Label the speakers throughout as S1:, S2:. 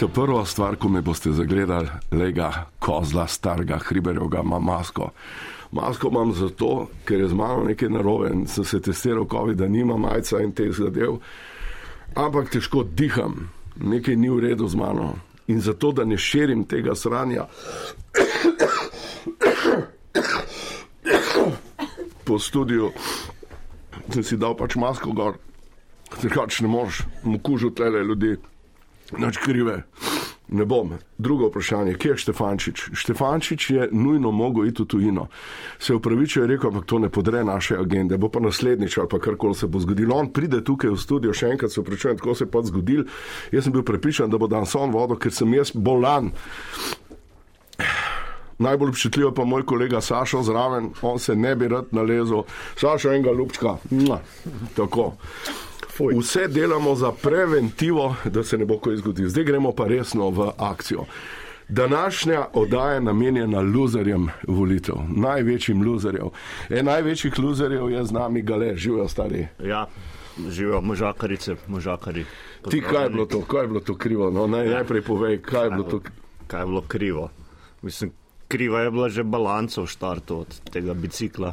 S1: To prvo stvar, ko me boste zagledali, lega kozla, starega, hriberjoga, ima masko. Masko imam zato, ker je z mano nekaj narobe in sem se testiral COVID, da nima majca in teh zadev, ampak težko diham, nekaj ni v redu z mano. In zato, da ne širim tega sranja, po studiu sem si dal pač masko gor, drugače ne moreš, mu kužu tele ljudi, nič krive. Ne bom. Drugo vprašanje, kje je Štefančič? Štefančič je nujno mogel iti v tujino. Se upravičuje, rekel, ampak to ne podre naše agende. Bo pa naslednjič ali pa karkoli se bo zgodilo. On pride tukaj v studio, še enkrat se upravičujem, tako se je pač zgodil. Jaz sem bil prepričan, da bo dan son vodo, ker sem jaz bolan. Najbolj občutljiv je pa moj kolega Sašo zraven, on se ne bi rad nalezel, Sašo enega lupčka. Mua. Tako. Vse delamo za preventivo, da se ne bo kaj zgodilo. Zdaj gremo pa resno v akcijo. Današnja oddaja je namenjena luzerjem volitev, največjim luzerjem. En največjih luzerjev je z nami Gale, živijo stari.
S2: Ja, živijo možakarice, možakari.
S1: Ti, kaj je bilo to, kaj je bilo to krivo? No, naj, najprej povej, kaj je bilo to.
S2: Ja. Kaj je bilo krivo? Mislim, kriva je bila že balanca v štartu od tega bicikla.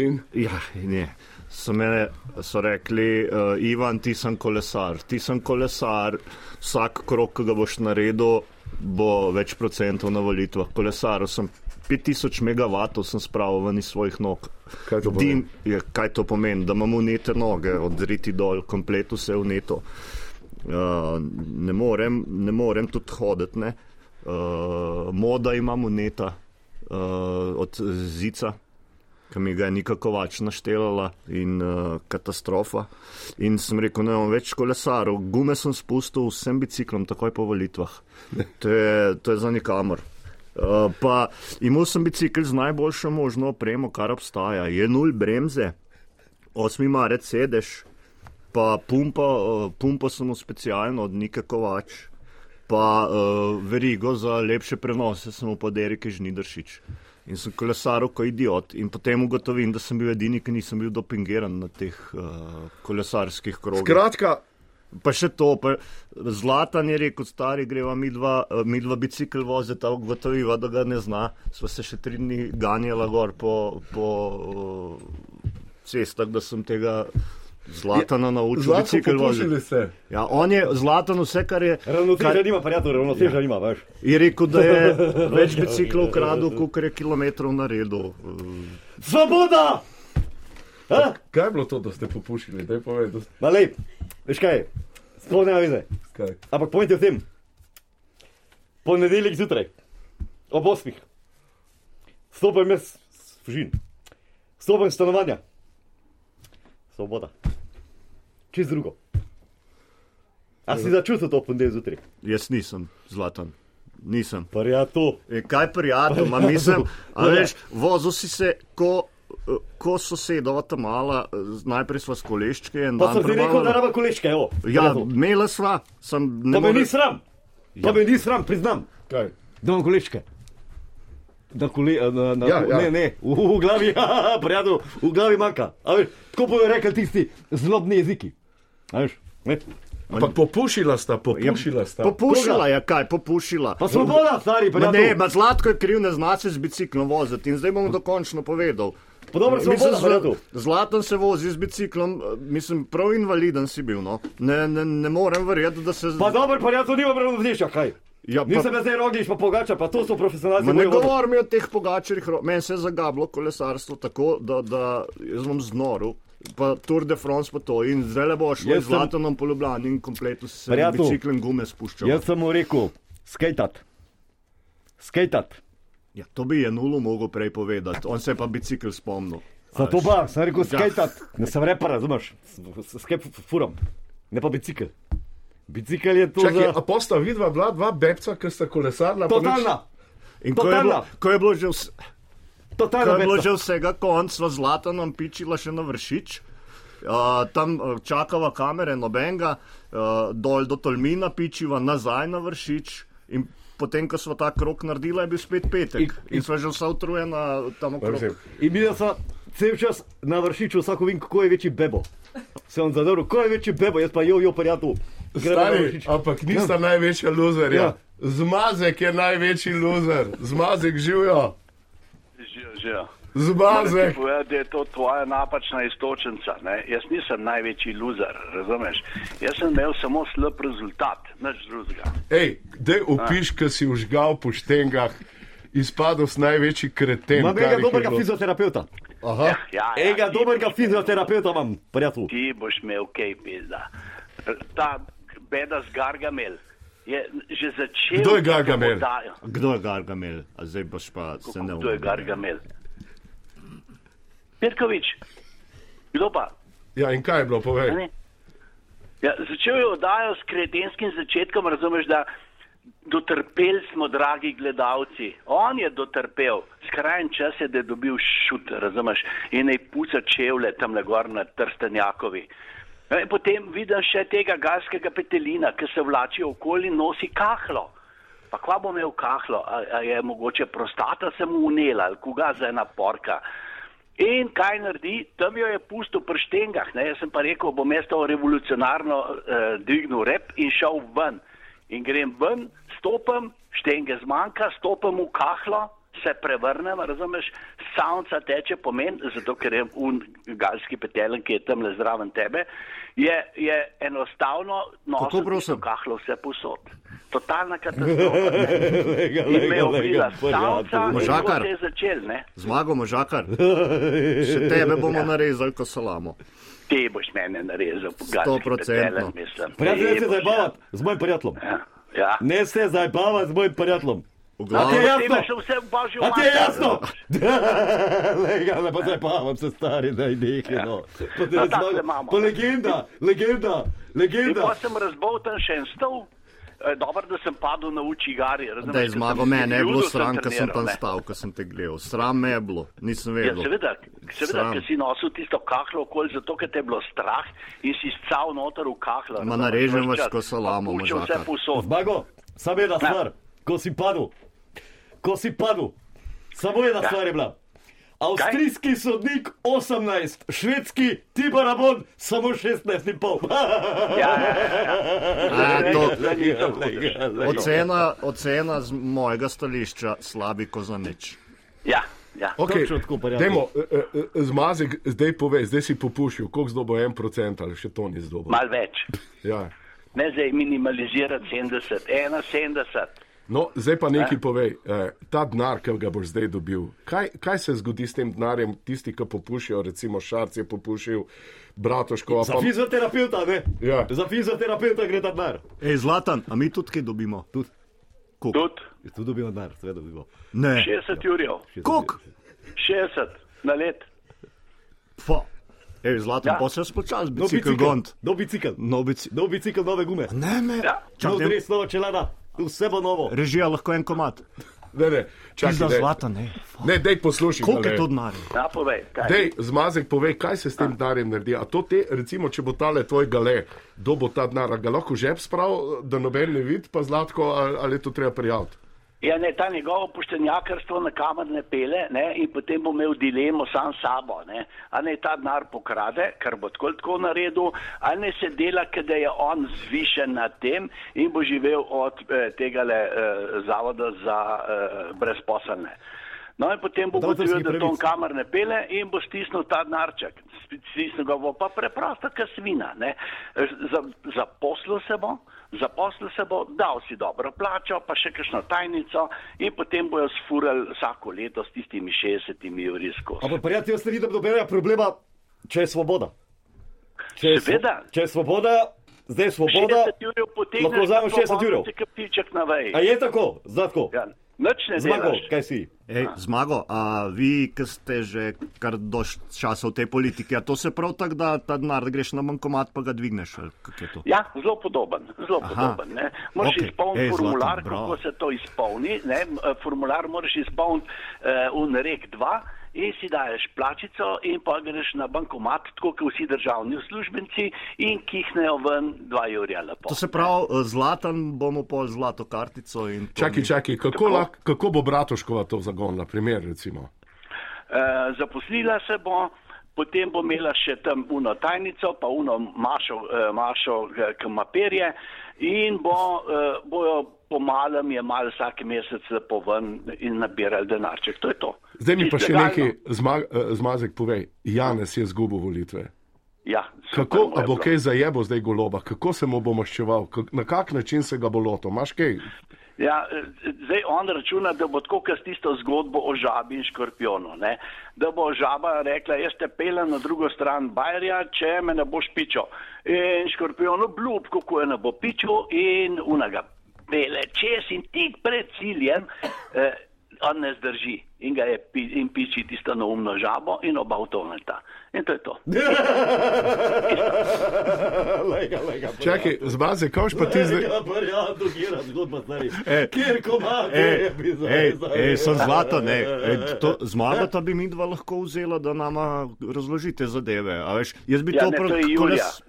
S1: In
S2: Ja, ne. So, mene, so rekli, uh, Ivan, ti sem kolesar, ti sem kolesar, vsak krok, ki ga boš naredil, bo več procentov na volitvah. Kolesar sem 5000 megavatov sem spravil ven iz svojih nog.
S1: Kaj to pomeni?
S2: Dim, je, kaj to pomeni? Da imamo unete noge, odriti dol, komplet vse uneto. Uh, ne morem, ne morem tudi hoditi, ne. Uh, moda imam uneta uh, od zica ki mi ga je Nika Kovač naštelala in uh, katastrofa. In sem rekel, ne bom več kolesaril, gume sem spustil vsem biciklom, takoj po volitvah. To je, to je za nikamor. Uh, pa imel sem bicikl z najboljšo možno opremo, kar obstaja. Je nul bremze, 8. marec sedeš, pa pumpo, uh, pumpo sem imel specialno od Nika Kovač. Pa uh, verigo za lepše prenose sem opoderi, ki žnidaršič. In sem kolesaril kot idiot. In potem ugotovim, da sem bil edini, ki nisem bil dopingiran na teh uh, kolesarskih krogih.
S1: kratka,
S2: Pa še to, pa Zlatan je rekel, stari greva mi dva, eh, mi dva bicikl vozita, ugotoviva, da ga ne zna. Sva se še tri dni ganjala gor po, po eh, cestah, da sem tega Zlatana naučil bicikl voziti.
S1: ste.
S2: Ja, on je Zlatan vse, kar je,
S3: Ravnoteža
S2: kar
S3: nima, prijatelj, ravnoteža ja. nima, veš.
S2: je rekel, da je več biciklov ukradel, kot je kilometrov naredil. Eh,
S3: Svoboda! Ha?
S1: Kaj je bilo to, da ste popušili? Daj povej, da ste.
S3: Ma lep, veš kaj, sploh ne veze.
S1: Kaj?
S3: Ampak pomnite v tem, ponedeljek zjutraj, ob 8. Stopim jaz, fužin, stopim iz stanovanja, svoboda, čez drugo. A
S2: Eh.
S3: si začutil to ponedeljek zjutraj?
S2: Jaz nisem Zlatan, nisem.
S3: Prijatelj.
S2: E, Kaj prijatelj, ma mislim, a veš, vozil si se, ko, eh, ko sosedova tam mala, eh, najprej sva s koleščke. en
S3: Pa
S2: dan
S3: sem ti rekel,
S2: prevalila.
S3: da raba koleške, evo.
S2: Ja,
S3: Prijatelj.
S2: imela sva, sem ne
S3: Pa me
S2: more- Ja.
S3: ni sram, pa me ni sram, priznam.
S1: Kaj?
S3: Da imam kolečke. Da kole, na, na,
S1: Ja,
S3: ja,
S1: ja.
S3: ja. Ne, ne, v, v glavi, prijatelj, v glavi manjka. A Veš, tako bodo rekli tisti zlobni jeziki. A Veš, ne.
S1: Ampak popušila sta, popušila sta.
S2: Ja, Popušila
S3: Koga?
S2: je, kaj, popušila.
S3: Pa svoboda, stari,
S2: Ma ne,
S3: prijatelj.
S2: ma Zlatko je kriv, ne zna se z biciklom voziti in zdaj bom dokončno povedal.
S3: Pa dobro,
S2: Mislim,
S3: svoboda,
S2: zla-
S3: prijatelj.
S2: Zlatan se vozi z biciklom, eh, mislim, prav invaliden si bil, no. Ne, ne, ne morem verjeti, da se...
S3: Pa ja, dobro, prijatelj, nima ravnotežja, kaj.
S2: ja, pa-
S3: Nisem jaz zdaj roglič, pa pogača, pa to so profesionalci.
S2: Ma ne
S3: bojo vodili.
S2: govor mi o teh pogačerih, ro- meni se je zagablo kolesarstvo tako, da, da jaz bom znoru. Pa Tour de France pa to in zdaj le bo šlo
S3: Jaz
S2: z
S3: sem-
S2: Latonom po Ljubljani in kompletno se sem
S3: Prijatelj.
S2: biciklem gume spuščal.
S3: Jaz sem mu rekel, skejtat. Skejtat.
S2: Ja, to bi je nulo mogel prej povedati, on se je pa bicikl spomnil.
S3: Zato pa sem rekel,
S2: Ja.
S3: skajtat, ne sem repa, razumeš, skajp furam, ne pa bicikl. Bicikl je to
S1: Čakaj,
S3: za...
S1: aposta vidva bila dva bebca, ki sta kolesarila. pa nič-
S3: Totalna,
S2: In ko je, bilo,
S3: Totalna.
S2: ko je bilo že vse. Ko
S3: totalna
S2: je bilo
S3: beta.
S2: že vsega konc, sva z Latanom pičila še na vršič. Uh, tam eh, čakava kamere nobenega, uh, dol do Tolmina pičiva, nazaj na vršič. In potem, ko smo ta krok naredila, je bil spet petek.
S3: Ik-
S2: In, in sva že vsa utrujena tam okrog.
S1: Prosim.
S3: In videl sem cel čas na vršiču, vsako vem, kako je večji bebo. Sem zadoril, kako je večji bebo, jaz pa jo, jo, prijatelj.
S1: Stari, ampak nista ja. največja loserja.
S3: Ja.
S1: Ja. Zmazek je največji loser, zmazek živijo,
S4: Živijo, živijo. Moram
S1: zmazek.
S4: ti Povedati, da je to tvoja napačna istočnica. Ne? Jaz nisem največji loser, razumeš? Jaz sem imel samo slab rezultat, nič drugega.
S1: Ej, dej opiš, ki si užgal po štengah, izpadel si največji kreten.
S3: Imam
S1: kar jih
S3: enega
S1: je
S3: dobrega
S1: bilo.
S3: fizioterapeuta.
S1: Aha,
S4: Ja, ja,
S3: Enega
S4: ti
S3: dobrega
S4: boš-
S3: fizioterapeuta imam, prijatelj.
S4: Ti boš imel kaj pizda. Ta beda z Gargamel je že začel.
S1: Kdo je Gargamel?
S4: Da,
S2: Kdo je Gargamel? A zdaj boš pa se ne
S4: kdo je Gargamel? Pirkovič, kdo pa?
S1: ja, in kaj je bilo, povej.
S4: Ne? Ja, začel je oddajo s kretenskim začetkom, razumeš, da dotrpeli smo, dragi gledalci. On je dotrpel, skrajni čas je, da je dobil šut, razumeš, in naj puca čevlje tam le gor na Trstenjakovi. E, Potem vidim še tega galskega petelina, ki se vlači okoli in nosi kahlo. Pa kva bo imel kahlo, a, a je mogoče prostata se mu unela ali koga za ena porka. In kaj naredi, tam jo je pustil pri štengah. Ne? Jaz sem pa rekel, bom jaz to revolucionarno eh, dvignil rep in šel ven. In grem ven, stopim, štenge zmanjka, stopim v kahlo, se prevrnem, razumeš, savnica teče pomen, zato ker je un galski petelen, ki je tam le zraven tebe, je, je enostavno
S2: Kako,
S4: nosil
S2: prosim?
S4: tisto kahlo vse posod. Totalna katastrofa.
S3: Lega,
S4: In me je obrila savnica in
S2: Možakar.
S4: tako se je začel, ne?
S2: Zmago možakar. Še tebe bomo narezali kot salamo.
S4: Ti boš mene narezal,
S2: Stoprocentno.
S4: pogajal, mislim.
S3: Prijatelj, ne
S4: Ti
S3: se
S4: boš,
S3: zabavat z mojim prijateljem.
S4: Ja. Ja.
S3: Ne se zabavat z mojim prijateljem.
S2: V
S3: A ti
S2: glavu.
S3: je
S4: Ja, ti
S3: jasno?
S4: boš vse v božjo
S3: A ti je
S4: mater.
S3: jasno? Lega, ne pa zabavam se stari, daj nekaj. No. Pa,
S4: No,
S3: ne
S4: takle
S3: zmagam.
S4: imamo.
S3: pa legenda, legenda,
S4: In
S3: legenda.
S4: pa sem razbolten še en stol. Eh, Dobro, da sem padel na učigari. razumeš,
S2: Da je
S4: ker
S2: zmago
S4: sem
S2: mene, je
S4: judo
S2: bilo sram, ker sem
S4: treniral,
S2: tam
S4: ne.
S2: stal, ker sem te gledal. Sram me je bilo, nisem
S4: Ja,
S2: vedel.
S4: seveda, seveda
S2: Sram.
S4: ker si nosil tisto kahlo okoli, zato ker te je bilo strah in si scal noter v
S2: Ma
S4: kahlo. razumeš,
S2: narežem
S4: večkrat.
S2: vas ko salamo,
S4: Pa puščal
S2: možakar.
S4: Vse posod.
S3: Zmago, samo ena stvar, ko si padel, ko si padel, samo ena stvar je bila. Avstrijski Kaj? sodnik 18, švedski Tibarabon samo 16 in pol.
S4: Ja, ja, ja,
S2: A,
S4: ja.
S2: to,
S4: Zdaj nisem hudeš.
S2: ocena, ocena z mojega stališča slabi ko za nič.
S4: Ja, ja.
S1: Okay.
S3: Točno tako, prijatelj.
S1: Demo, e, zmazek, zdaj povej, zdaj si popušil, koliko zdobo je en procent ali še to ni zdobo.
S4: Mal več.
S1: Ja.
S4: Ne zdaj minimalizirati 70, 71.
S1: No, zdaj pa nekaj povej. eh, Ta denar, ki ga boš zdaj dobil, kaj, kaj se zgodi s tem denarjem, tisti, ki popušijo, recimo Šarc je popušil, Bratoško,
S3: Za
S1: pa
S3: fizioterapeuta, ne?
S1: Ja.
S3: Za fizioterapeuta gre ta denar.
S2: Ej, Zlatan, a mi tudi kaj dobimo?
S3: Tudi.
S2: Koliko?
S4: Tudi
S3: Tu dobimo denar, seveda dobimo.
S2: Ne.
S4: 60 jurjev,
S2: Koliko?
S4: 60 na let.
S2: Pa. Ej, Zlatan,
S4: Ja.
S2: pa se spočas, bicikl gond.
S3: Nov bicikl,
S2: No, bicikl.
S3: nov bicikl, nove gume.
S2: Ne, me.
S4: Ja.
S3: Nov
S2: Čakaj,
S3: dres, nova čelada, vse bo novo.
S2: režija lahko en komat.
S1: Ne, ne, čakaj,
S2: Pizda
S1: daj.
S2: Zlatan, ne.
S1: Ne, dej poslušaj.
S2: Koliko je
S1: tale.
S2: to denarja?
S4: Ja, povej, kaj.
S1: Dej, zmazek pove, kaj se s tem denarjem naredi. A to te, recimo, če bo tale tvoj gale, kdo bo ta denar, A ga lahko žep sprav, da noben ne vidi, pa zlatko, ali, ali je to treba prijaviti.
S4: Ja, ne, ta njegovo poštenjakarstvo na kamerne pele ne, in potem bo imel dilemo sam s sabo. Ne. A ne ta denar pokrade, kar bo tako ali tako naredil, ali ne se dela, ker da je on zvišen na tem in bo živel od eh, tega eh, zavoda za eh, brezposelne. No in potem bo
S3: Avtorskih
S4: ugotovil, da to
S3: pravic.
S4: on kamor ne pele in bo stisnil ta denarček. Stisnil ga bo pa preprosto kasvina. ne. Za- Zaposlil se bo, zaposlil se bo, dal si dobro plačo, pa še kakšno tajnico in potem bojo sfurali vsako leto s tistimi 60 juri skozi.
S3: Ampak, prijatelj, jaz ne vidim nobenega problema, če je svoboda. Če je,
S4: Seveda.
S3: če je svoboda, zdaj je svoboda.
S4: 60 jurjev
S3: lahko
S4: potegneš,
S3: vzamem 60 jurjev.
S4: se kapiček na veji.
S3: A je tako, zlatko?
S4: Ja, nič ne
S3: Zmago,
S4: delaš.
S3: kaj si?
S2: Ej, zmago, a vi, ki ste že kar dož časa v tej politiki, a to se prav tako da ta denar greš na bankomat, pa ga dvigneš? ali kako je to?
S4: Ja, zelo podoben. Zelo podoben ne. moraš
S2: Okej.
S4: okay. izpolniti
S2: Ej, Zlatan,
S4: formular,
S2: bravo.
S4: kako se to izpolni. Ne. M, eh, Formular moraš izpolniti uh, v rek 2 in si daješ plačico in pa greš na bankomat, tako kot vsi državni uslužbenci in kihnejo ven 2 jurja lepo.
S2: To se pravi, eh, zlatan bomo pol zlato kartico in. to
S1: Čakaj,
S2: ni-
S1: čakaj, kako,
S4: Tako.
S1: lahko, kako bo Bratoškova to zagonila, primer recimo.
S4: Eh, zaposlila se bo, potem bo imela še tam uno tajnico, pa uno mašo, eh, mašo eh, kamaperje in bo, eh, bojo pomalem jemali vsak mesec lepo ven in nabirali denarček. To je to.
S1: Zdaj mi pa
S4: Čisto
S1: še
S4: legalno.
S1: nekaj zma, eh, zmazek povej. Janes je zgubil volitve.
S4: Ja, super
S1: Kako,
S4: mu je
S1: a bo
S4: bilo.
S1: kaj zajebo zdaj goloba, kako se mu bo maščeval, Kak- na kak način se ga bo lotil, imaš kaj?
S4: Ja, eh, zdaj on računa, da bo tako kot s tisto zgodbo o žabi in škorpionu. Ne? Da bo žaba rekla, jaz te pelem na drugo stran Bajerja, če me ne boš pičil. In škorpion obljub, kako je ne bo pičil in unaga pele čez in tik pred ciljem. Eh, On ne zdrži in ga je pi, in piči tisto neumno žabo in oba utoneta. In to je to.
S2: Ja.
S3: Lega, lega, pa ja.
S1: Čakaj, zmazek, kaj boš pa ti zdaj?
S3: Lega, pa ja, dogira zgodba, stari.
S2: E.
S3: Kjer koma,
S2: Ej,
S3: kjer bi zdaj,
S2: ej,
S3: zdaj.
S2: ej, sem zlata, ne. Ej, to, zmaga ta bi mi dva lahko vzela, da nama razložite zadeve. a Veš, jaz bi
S4: Ja,
S2: to
S4: ne,
S2: prav-
S4: to je
S2: ko
S4: Julija.
S2: jaz-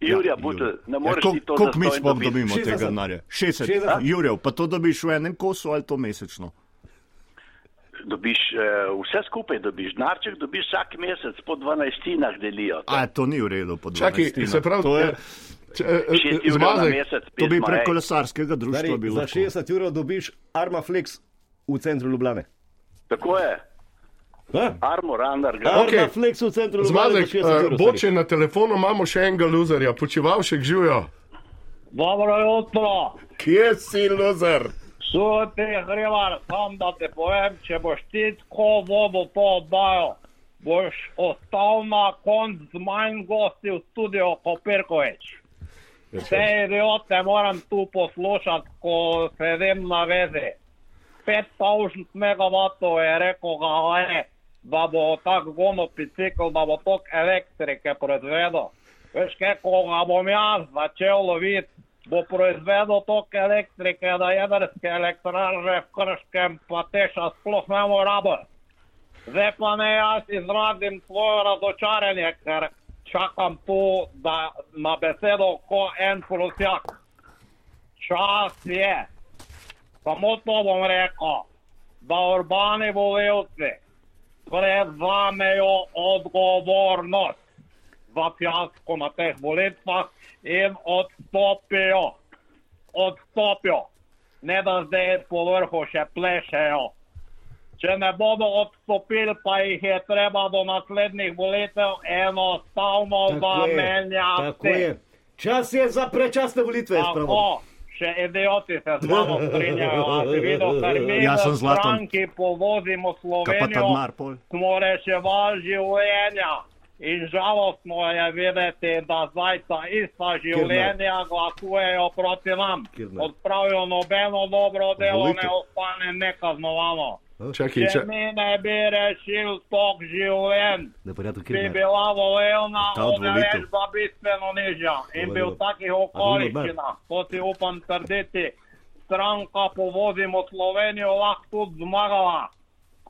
S4: Jurija Butel, ne moreš
S2: ja,
S4: ti to
S2: Koliko mi
S4: zastonj
S2: sploh
S4: dobiti.
S2: dobimo
S3: 60.
S2: tega denarja? 60,
S3: 60.
S2: 60. Jurjev, pa to dobiš v enem kosu ali to mesečno.
S4: Dobiš eh, vse skupaj, dobiš narček, dobiš vsak mesec po 12 delijo.
S2: A to ni v redu, po
S1: Čakaj,
S2: 12.
S1: se pravi,
S2: to je,
S1: eh, če- eh, eh,
S4: Šest evrov na
S1: zmazek,
S4: mesec,
S2: to bi
S4: pismo,
S2: prek
S4: ej.
S2: kolesarskega društva
S3: Stari,
S2: bilo.
S3: za 60 ur dobiš Armaflex v centru Ljubljane.
S4: Tako je,
S3: Ha?
S4: E, armor, underground.
S1: Okej.
S3: Armaflex v centru Ljubljane.
S1: zmazek,
S3: za 60 evrov,
S1: eh,
S3: stari.
S1: boče na telefonu imamo še enega luzerja, počival še živijo.
S5: Dobro jutro,
S1: Kje si luzer?
S5: suti hrivar, sam da ti povem, če boš ti tako vobo to oddajo, boš ostal na konc z manj gosti v studiu Kopirkovič. Te idiote moram tu poslušati, ko sedim na vezi. 5000 megavatov je rekel ga je, da bo tak gonopicikl, da bo tok elektrike proizvedel. Veš, kaj, ko ga bom jaz začel loviti, bo proizvedel tok elektrike, da jedrske elektrarne v Krškem pa teša sploh ne more rabiti. Zdaj pa ne jaz izrazim svoje razočaranje, ker čakam tu, da na besedo ko en prosjak. Čas je. Samo to bom rekel, da urbani volivci prevzamejo odgovornost za fiasko na teh volitvah in odstopijo. Odstopijo. Ne da zdaj povrhu še plešejo. Če ne bodo odstopili, pa jih je treba do naslednjih volitev enostavno
S3: Tako je,
S5: zamenjati.
S3: Tako je. Čas je za prečasne volitve, je spravo.
S5: Tako, še idioti se z mano strinjajo, a si videl, kar mi
S2: Ja, sem
S5: v
S2: Zlatan.
S5: stranki povozimo
S2: Kaj pa ta
S5: Slovenijo,
S2: denar pol?
S5: smo reševali življenja. In žalostno je videti, da zdaj ta ista življenja glasujejo proti nam.
S3: Kjer ne?
S5: Odpravijo nobeno dobro delo,
S1: Volite.
S5: ne ostane nekaznovano.
S1: Čakaj,
S5: Če
S1: če,
S5: mi ne bi rešil tok življenj,
S3: Ne, pa ja, to
S5: bi
S3: kjer ne.
S5: bila volilna
S2: Ta odvolitev.
S5: odeležba bistveno nižja in bi v takih okoliščinah, kot si upam trditi, stranka Povozimo Slovenijo lahko tudi zmagala.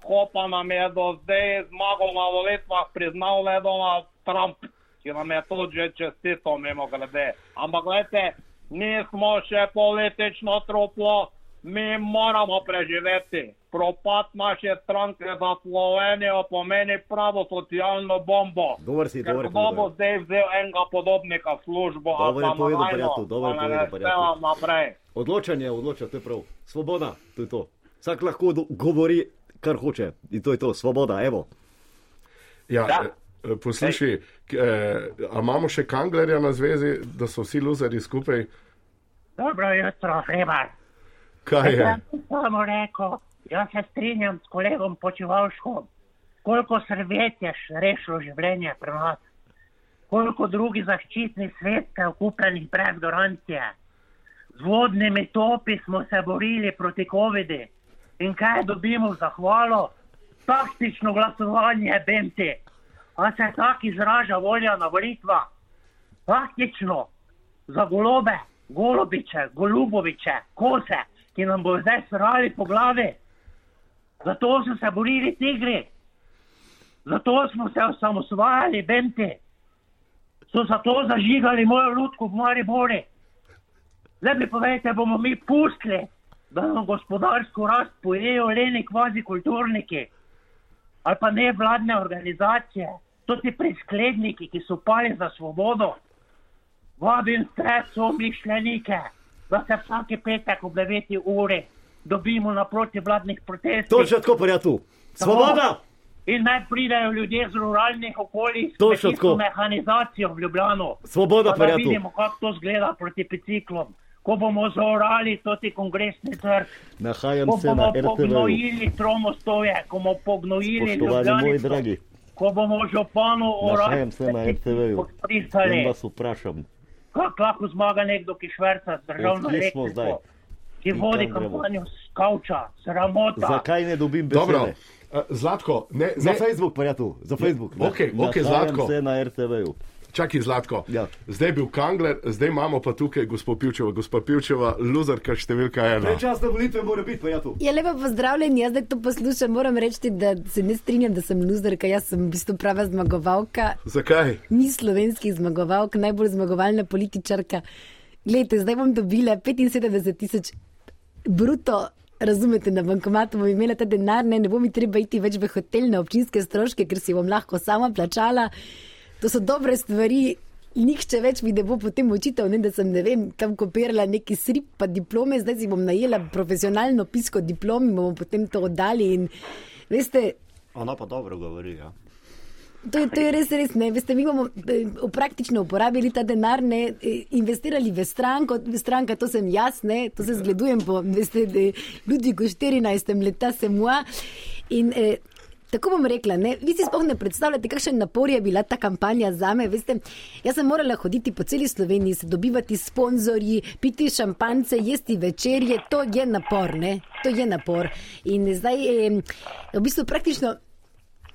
S5: Ko pa nam je do zdaj zmagal na volitvah priznal le Donald Trump, ki nam je to že čestito mimo grede. Ampak gledajte, mi smo še politično truplo, mi moramo preživeti. Propad naše stranke za Slovenijo pomeni pravo socialno bombo.
S6: Dober si, dober je
S5: Kdo bo
S6: povedal.
S5: zdaj vzel enega podobnika v službo? a
S6: Dobro je
S5: pa
S6: povedal,
S5: nagajno,
S6: prijatelj, dobro je
S5: pa ne
S6: povedal, prijatelj.
S5: naštevam naprej.
S6: Odločanje odloča, to je prav. Svoboda, to je to. Vsak lahko do- govori, kar hoče. In to je to, svoboda, evo.
S1: ja,
S4: Da.
S1: eh, poslušaj, k- eh, a imamo še kanglerja na zvezi, da so vsi luzerji skupaj?
S7: Dobro jutro, Hribar.
S1: Kaj je?
S6: Ja.
S7: Jaz sem samo rekel, jaz se strinjam s kolegom Počivalškom, koliko servet je še rešilo življenje pri nas, koliko drugih zaščitnih sredstev kupljenih brez garancije. Z vodnimi topi smo se borili proti COVID-u in kaj dobimo v zahvalo? Taktično glasovanje, Benti. A se tako izraža volja na volitvah? Taktično za golobe, golobiče, goluboviče, kose, ki nam bodo zdaj srali po glavi. Zato so se borili tigri, zato smo se osamosvajali, benti, so zato zažigali mojo lutko v Maribori. Zdaj mi povejte, bomo mi pustili, da nam gospodarsko rast pojejo leni kvazi kulturniki ali pa nevladne organizacije, To ti priskledniki, ki so pali za svobodo, vabim vse somišljenike, da se vsake petek ob 9. uri dobimo naproti vladnih protestov.
S6: Točno tako, pa ja tu. Svoboda!
S7: In naj pridajo ljudje z ruralnih okolij, s
S6: Točno
S7: kmetijsko
S6: tako.
S7: mehanizacijo v Ljubljano.
S6: Svoboda,
S7: pa da
S6: prijatelj.
S7: vidimo, kako to zgleda proti biciklom. Ko bomo zaorali toti kongresni trg,
S6: Nahajam
S7: ko
S6: se na
S7: bomo
S6: RTV.
S7: pognojili tromostoje, ko bomo pognojili
S6: Spoštovani moji
S7: Ljubljano,
S6: dragi,
S7: ko bomo županu
S6: nahajam se na RTV-ju.
S7: podpisali,
S6: In vas vprašam,
S7: kako lahko zmaga nekdo, ki šverca z državno
S6: Odkje smo zdaj?
S7: elektriko, ki
S6: In
S7: vodi
S6: kam gremo?
S7: kampanjo s kavča, sramota.
S6: zakaj ne dobim
S1: Dobro,
S6: besede?
S1: Eh, Zlatko, ne,
S6: Za
S1: ne,
S6: Facebook, pa ja tu, za Facebook. ne.
S1: Okej, okej,
S6: Nahajam
S1: Zlatko.
S6: se na RTV-ju.
S1: čakaj, Zlatko.
S6: Ja.
S1: Zdaj je bil Kangler, zdaj imamo pa tukaj gospod Pivčeva, gospod Pivčeva, luzerka številka ena.
S6: Prečasne volitve mora biti, pa ja tu.
S8: Je lepo pozdravljen, jaz zdaj to poslušam. Moram reči, da se ne strinjam, da sem luzerka, jaz sem v bistvu prava zmagovalka.
S1: Zakaj?
S8: Ni slovenskih zmagovalk, najbolj zmagovalna političarka. Glejte, zdaj bom dobila 75 tisoč bruto. Razumete, na bankomatu bom imela ta denar, ne, ne bo mi treba iti več v hotel na občinske stroške, ker si bom lahko sama plačala. To so dobre stvari. Nihče več mi ne bo potem očital, ne, da sem ne vem, tam kopirala neki srip, pa diplome, zdaj si bom najela profesionalno pisko diplom in bomo potem to oddali. In, veste,
S2: Ona pa dobro govori. Ja.
S8: To je, to je res, res ne. Veste, mi bomo eh, praktično uporabili ta denar, ne eh, investirali v stranko, v stranka, to sem jaz, ne, to se zgledujem po veste, eh, Ludviku 14, leta sem moja. In eh, tako bom rekla, ne, vi si sploh ne predstavljate, kakšen napor je bila ta kampanja za me. Veste, jaz sem morala hoditi po celi Sloveniji, se dobivati s sponzorji, piti šampance, jesti večerje, to je napor, ne, to je napor. In zdaj, eh, v bistvu praktično.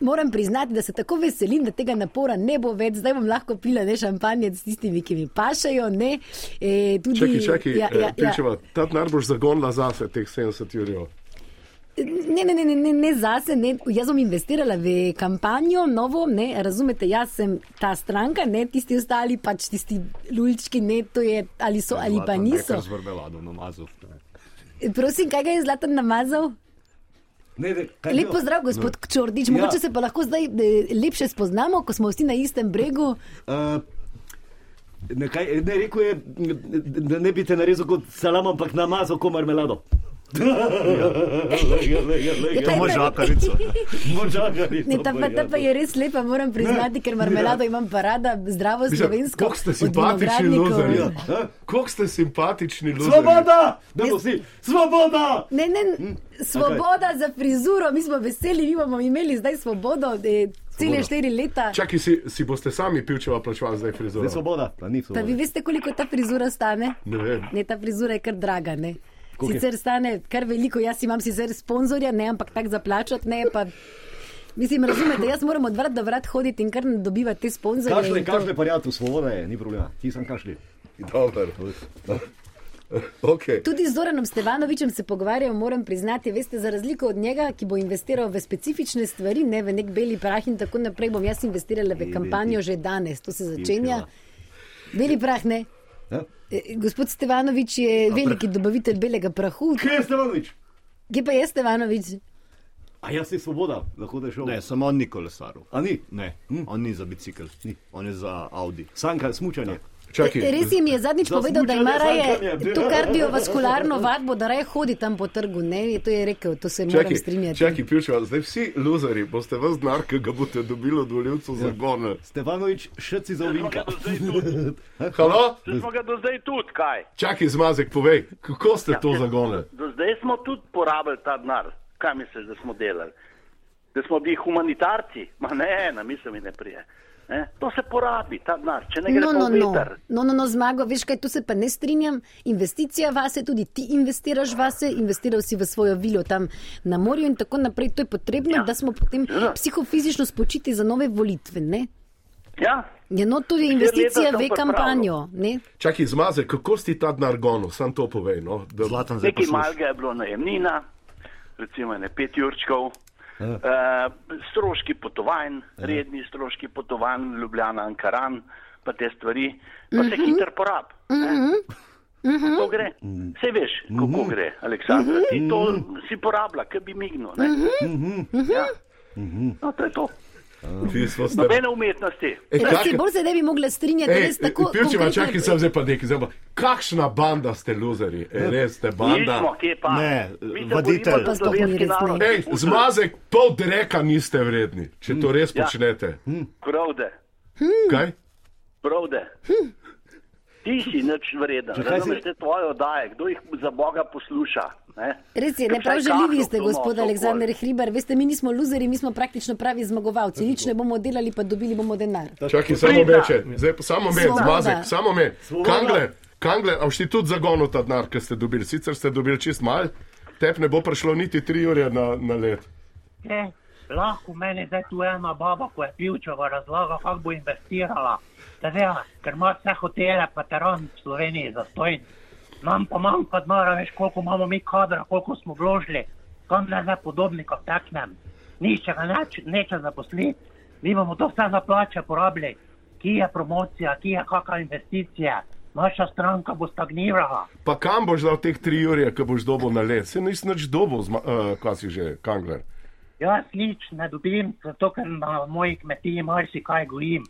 S8: Moram priznati, da se tako veselim, da tega napora ne bo več, zdaj bom lahko pila ne šampanje s tistimi, ki mi pašajo. Ne, e, tudi,
S1: Čakaj, čakaj, eh,
S8: ja, ja, ja.
S1: Pivčeva, ta denar boš zagonila zase teh 70 jurjev.
S8: Ne, ne, ne, ne, ne, ne zase, ne. jaz bom investirala v kampanjo, novo, ne, razumete, jaz sem ta stranka, ne tisti ostali, pač tisti lulčki, ne, to je ali so ali pa niso.
S2: Zvrbeladov namazov. Ne.
S8: Prosim, kaj ga je zlatan namazal?
S3: Ne, ne, kaj je
S8: Lep
S3: bilo?
S8: pozdrav, gospod Čordič,
S3: Ja.
S8: mogoče se pa lahko zdaj eh, lepše spoznamo, ko smo vsi na istem bregu.
S3: Eh, Nekaj, ne rekel je, da ne bi te narezal kot salam, ampak namazal kot marmelado.
S8: Ja, pa-
S2: Možakarico.
S3: Možakari,
S8: Ne, ta, pa, ta pa je res lepa, moram priznati, ker marmelado imam parada, zdravo slovensko.
S1: Kako ste
S8: od
S1: simpatični ja.
S8: vinogradnikov.
S1: luzerji.
S6: Ja,
S1: Kako ste simpatični luzerji.
S3: Svoboda! Da bo vsi, svoboda!
S8: Ne, ne, svoboda za frizuro, mi smo veseli, mi bomo imeli zdaj svobodo, eh, cele štiri leta.
S1: Čakaj, si, si boste sami Pivčeva plačevali zdaj
S6: Zdaj
S1: frizuro.
S6: svoboda, pa ni
S8: Pa vi
S6: svoboda.
S8: veste, koliko ta frizura stane?
S1: Ne vem.
S8: Ne, ta frizura je kar draga. Ne?
S6: Koliko je?
S8: Sicer stane kar veliko, jaz imam sicer sponzorja, ne, ampak tak zaplačati ne. Pa, mislim, razumete, jaz moram od vrat do vrat hoditi in kar ne dobivati te sponzorje.
S6: Kašle,
S8: in to.
S6: kašle, pa ja tu, svoboda je, ni problema. Ti sem kašli.
S1: Dober. Okay.
S8: Tudi z Zoranom Stevanovičem se pogovarjam, moram priznati, veste, za razliko od njega, ki bo investiral v specifične stvari, ne v nek beli prah in tako naprej, bom jaz investirala v kampanjo že danes, to se začenja. Beli prah ne.
S6: Ja?
S8: Eh, Gospod Stevanovič je veliki dobavitelj belega prahu.
S3: Kje je Stevanovič?
S8: Kje pa je Stevanovič?
S3: A jaz sem svoboda, lahko da je šel.
S2: Ne, samo on ni kolesarov.
S3: A ni? Hm.
S2: Ne, on ni za bicikl, ni. on je za Audi.
S3: Sanka, smučanje.
S1: Čakaj,
S8: Res jim je zadnjič
S3: Za
S8: povedal, da ima
S3: smučanje
S8: raje
S3: sankanje.
S8: to kardiovaskularno vadbo, da raje hodi tam po trgu. Ne, to je rekel, to se moram
S1: čakaj,
S8: strinjati.
S1: čakaj Pivčeva, zdaj vsi luzerji boste vas denar, ki ga boste dobili od
S6: Ja.
S1: voljivcev, zagonili.
S6: Stevanovič, šrci za ovinka.
S1: Halo?
S4: Če smo ga do Ja, zdaj tudi, kaj?
S1: Čakaj, zmazek, povej, kako
S4: Ja.
S1: ste to zagonili?
S4: Do zdaj smo tudi porabili ta denar. Kaj misliš, da smo delali? Da smo bili humanitarci? Ma ne, na misel mi ne prije. Ne? To se porabi, ta denar, če ne gre
S8: No,
S4: pa
S8: no,
S4: v
S8: no.
S4: veter.
S8: no, no, no, zmago, veš kaj, tu se pa ne strinjam. Investicija vase, tudi ti investiraš vase, investiral si v svojo vilo tam na morju in tako naprej. To je potrebno, ja. da smo potem psihofizično spočiti za nove volitve. Ne?
S4: Ja,
S8: Ja, no, to je
S4: leta
S8: investicija
S4: sem
S8: v
S4: pripravljal.
S8: kampanjo. Ne?
S1: Čakaj, zmazek, kako ste ta denar gonili? Sam to povej. No, da...
S2: Zlatan zdaj
S4: nekaj
S2: posluša.
S4: malega je bilo najemnina, recimo ne pet jurčkov. Uh, stroški potovanj, redni stroški potovanj, Ljubljana, Ankaran, pa te stvari, pa se
S8: Mhm.
S4: hitro porab. To gre. Vse veš, kako gre, Aleksandra. Ti
S8: Mhm.
S4: to si porabila, ki bi mignil. ne? Ja. No, to je to.
S1: Vi smo stari.
S4: Nobene umetnosti.
S1: E,
S8: Res
S1: kak-
S8: je, bolj se ne bi mogla strinjati,
S1: Ej,
S8: res tako.
S1: Pivčeva,
S8: konkretne-
S1: čakaj, sem zdaj pa neki, zdaj pa. Kakšna banda ste luzeri, E, res ste
S4: Nismo,
S1: banda.
S4: kje pa.
S2: Ne,
S4: Mi se
S2: vaditelj.
S4: borimo za
S8: Pa sploh ni
S4: slovenski
S8: res, ne.
S4: narod.
S1: Ej,
S4: Pušča,
S1: zmazek, pol dreka niste vredni, če
S4: Hmm,
S1: to
S4: ja.
S1: res počnete.
S4: Krovde,
S1: Kaj?
S4: krovde.
S8: Hm.
S4: Ti si nič vreden, razumete te tvoje oddaje, kdo jih za Boga posluša. Ne?
S8: Res je,
S4: Ker
S8: ne prav
S4: vsaj
S8: želivi
S4: kakšno
S8: ste,
S4: to
S8: gospod
S4: noč
S8: Aleksandr
S4: okoli.
S8: Hribar. Veste, mi nismo luzeri, mi smo praktično pravi zmagovalci. Nič ne bomo delali, pa dobili bomo denar.
S1: Čakaj, samo meče, zdaj pa samo me,
S8: Svoboda.
S1: zmazek, samo me. Kangler, kangler, a boš ti tudi zagonil ta denar, ki ste dobili, sicer ste dobili čist mal, tep ne bo prišlo niti tri ure na, na let.
S7: Ne, E, lahko meni zdaj tu ena baba, ko je pivčeva razlaga, kako bo investirala. Da vela, ker ima vse hotele, pa teran v Sloveniji zastojen. Nam pa manjka denarja, veš koliko imamo mi kadra, koliko smo vložili. Kam ne zdaj podobnika teknem. Nišče ga neč, neče zaposliti. Mi bomo to vse za plače porabili. Kje je promocija, kje je kakšna investicija. Naša stranka bo stagnirala.
S1: Pa kam boš dal teh tri ure, ki boš dobil na let? Se nisi nič dobil, zma, uh, kaj si že, kangler.
S7: Jaz Ja, nič ne dobim, zato ker na moji kmetiji marsikaj gojim.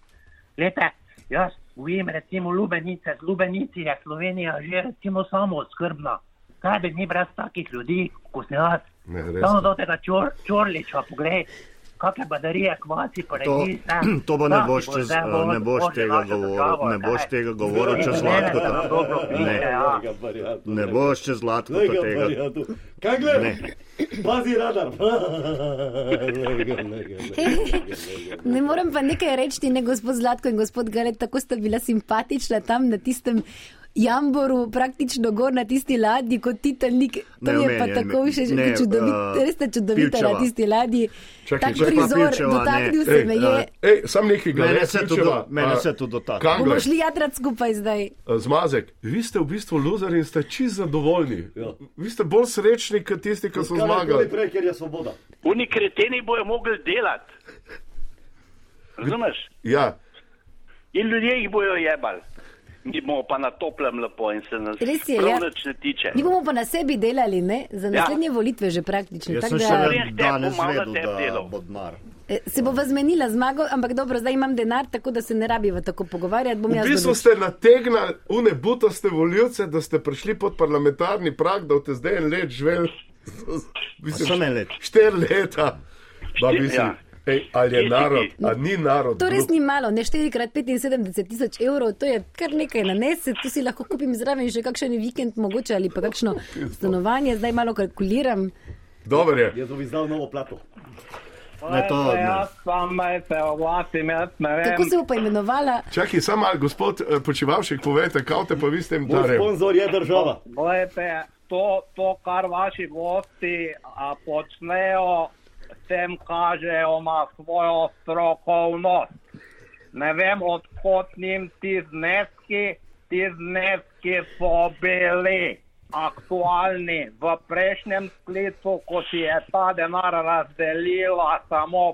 S7: Lete, jaz gojim recimo lubenice, z lubenici je Slovenija že recimo samo oskrbna. Kaj bi mi brez takih ljudi, kot sem jaz?
S1: Ne, res
S7: Samo
S1: ne.
S7: do tega čor, čorliča, poglej, kakšne baterije, kvasi,
S2: To,
S7: poredi.
S2: to
S7: Ja,
S2: pa ne boš, čez, eh, ne boš tega govoril, ne boš tega govoril čez
S7: Ne,
S2: lahko.
S7: ne, ne, dobro,
S2: Ne.
S7: piše, ja.
S2: Ne boš čez lahko
S3: Glej ga,
S2: tega.
S3: Marjadu. Kaj gledaš?
S2: Ne.
S3: Pazi radar. Glej ga, glej ga, glej ga.
S8: Ne morem pa nekaj reči, ne gospod Zlatko in gospod Galet, tako sta bila simpatična tam na tistem. Jamboru, praktično gor na tisti ladji kot Titanik, to
S2: Ne,
S8: mi je pa
S2: omenjaj,
S8: tako
S2: ne,
S8: všeč,
S2: ne,
S8: ker čudovit,
S2: eh,
S8: res sta čudovita
S2: Pivčeva.
S8: na tisti ladji.
S1: Čakaj,
S8: Tak
S1: čakaj,
S8: prizor,
S2: Pivčeva, ne.
S8: dotaknil se
S1: Ej, eh,
S8: me je.
S1: Ej, sam nekaj gleda.
S2: Mene se to do- mene se to dotakne.
S8: Bomo
S1: Kangler, eh,
S8: šli jadrat skupaj zdaj.
S1: zmazek, vi ste v bistvu loser in ste čist zadovoljni.
S2: Ja.
S1: Vi ste bolj srečni, kot tisti, ki
S3: Kaj naj
S1: so
S3: tudi
S1: zmagali.
S3: prej, ker je svoboda.
S4: Oni kreteni bojo mogli delati. Razumeš?
S1: Ja,
S4: In ljudje jih bojo jebali. Mi bomo pa na toplem lepo in se nas
S8: Res je,
S4: prav
S8: ja.
S4: nič ne tiče.
S8: Mi bomo pa na sebi delali, ne? za naslednje volitve že praktično.
S2: Jaz sem
S8: Tako da-
S2: še
S4: Res te
S2: danes
S4: pomalo
S2: vedel,
S4: tep
S2: da
S4: delal.
S2: bo denar.
S8: E, Se bova zmenila zmago, ampak dobro, zdaj imam denar, tako da se ne rabiva tako pogovarjati. Bom
S1: v
S8: jaz
S1: bistvu
S8: določila.
S1: ste nategnali unebutaste voljivce, da ste prišli pod parlamentarni prag, da boste zdaj en let živeli.
S2: Samo en let.
S1: Štiri leta. Da,
S4: Štir-
S1: mislim,
S4: ja.
S1: ej, ali
S2: E,
S1: je
S4: Štir-
S1: narod, ali ni narod.
S8: To res
S1: glup?
S8: ni malo, ne 4x75 tisoč evrov, to je kar nekaj na mesec, tu si lahko kupim zraven še kakšen vikend mogoče ali pa kakšno stanovanje, zdaj malo kalkuliram.
S1: Dober je.
S3: Jaz bom izdal novo plato.
S2: Ne, to
S5: Ajde,
S2: ne.
S5: Jaz sam naj se oglasim, jaz ne vem.
S8: Kako se bo pa imenovala?
S1: Čakaj, samo malo, gospod eh, Počivalšek, povejte, kaj te pa vi s tem
S3: Moj
S1: darem.
S3: sponzor je država.
S5: Glejte, to, to, kar vaši gosti a, počnejo, s tem kažejo na svojo strokovnost. Ne vem, odkot njim ti zneski, ti zneski so bili aktualni v prejšnjem sklicu, ko si je ta denar razdelila samo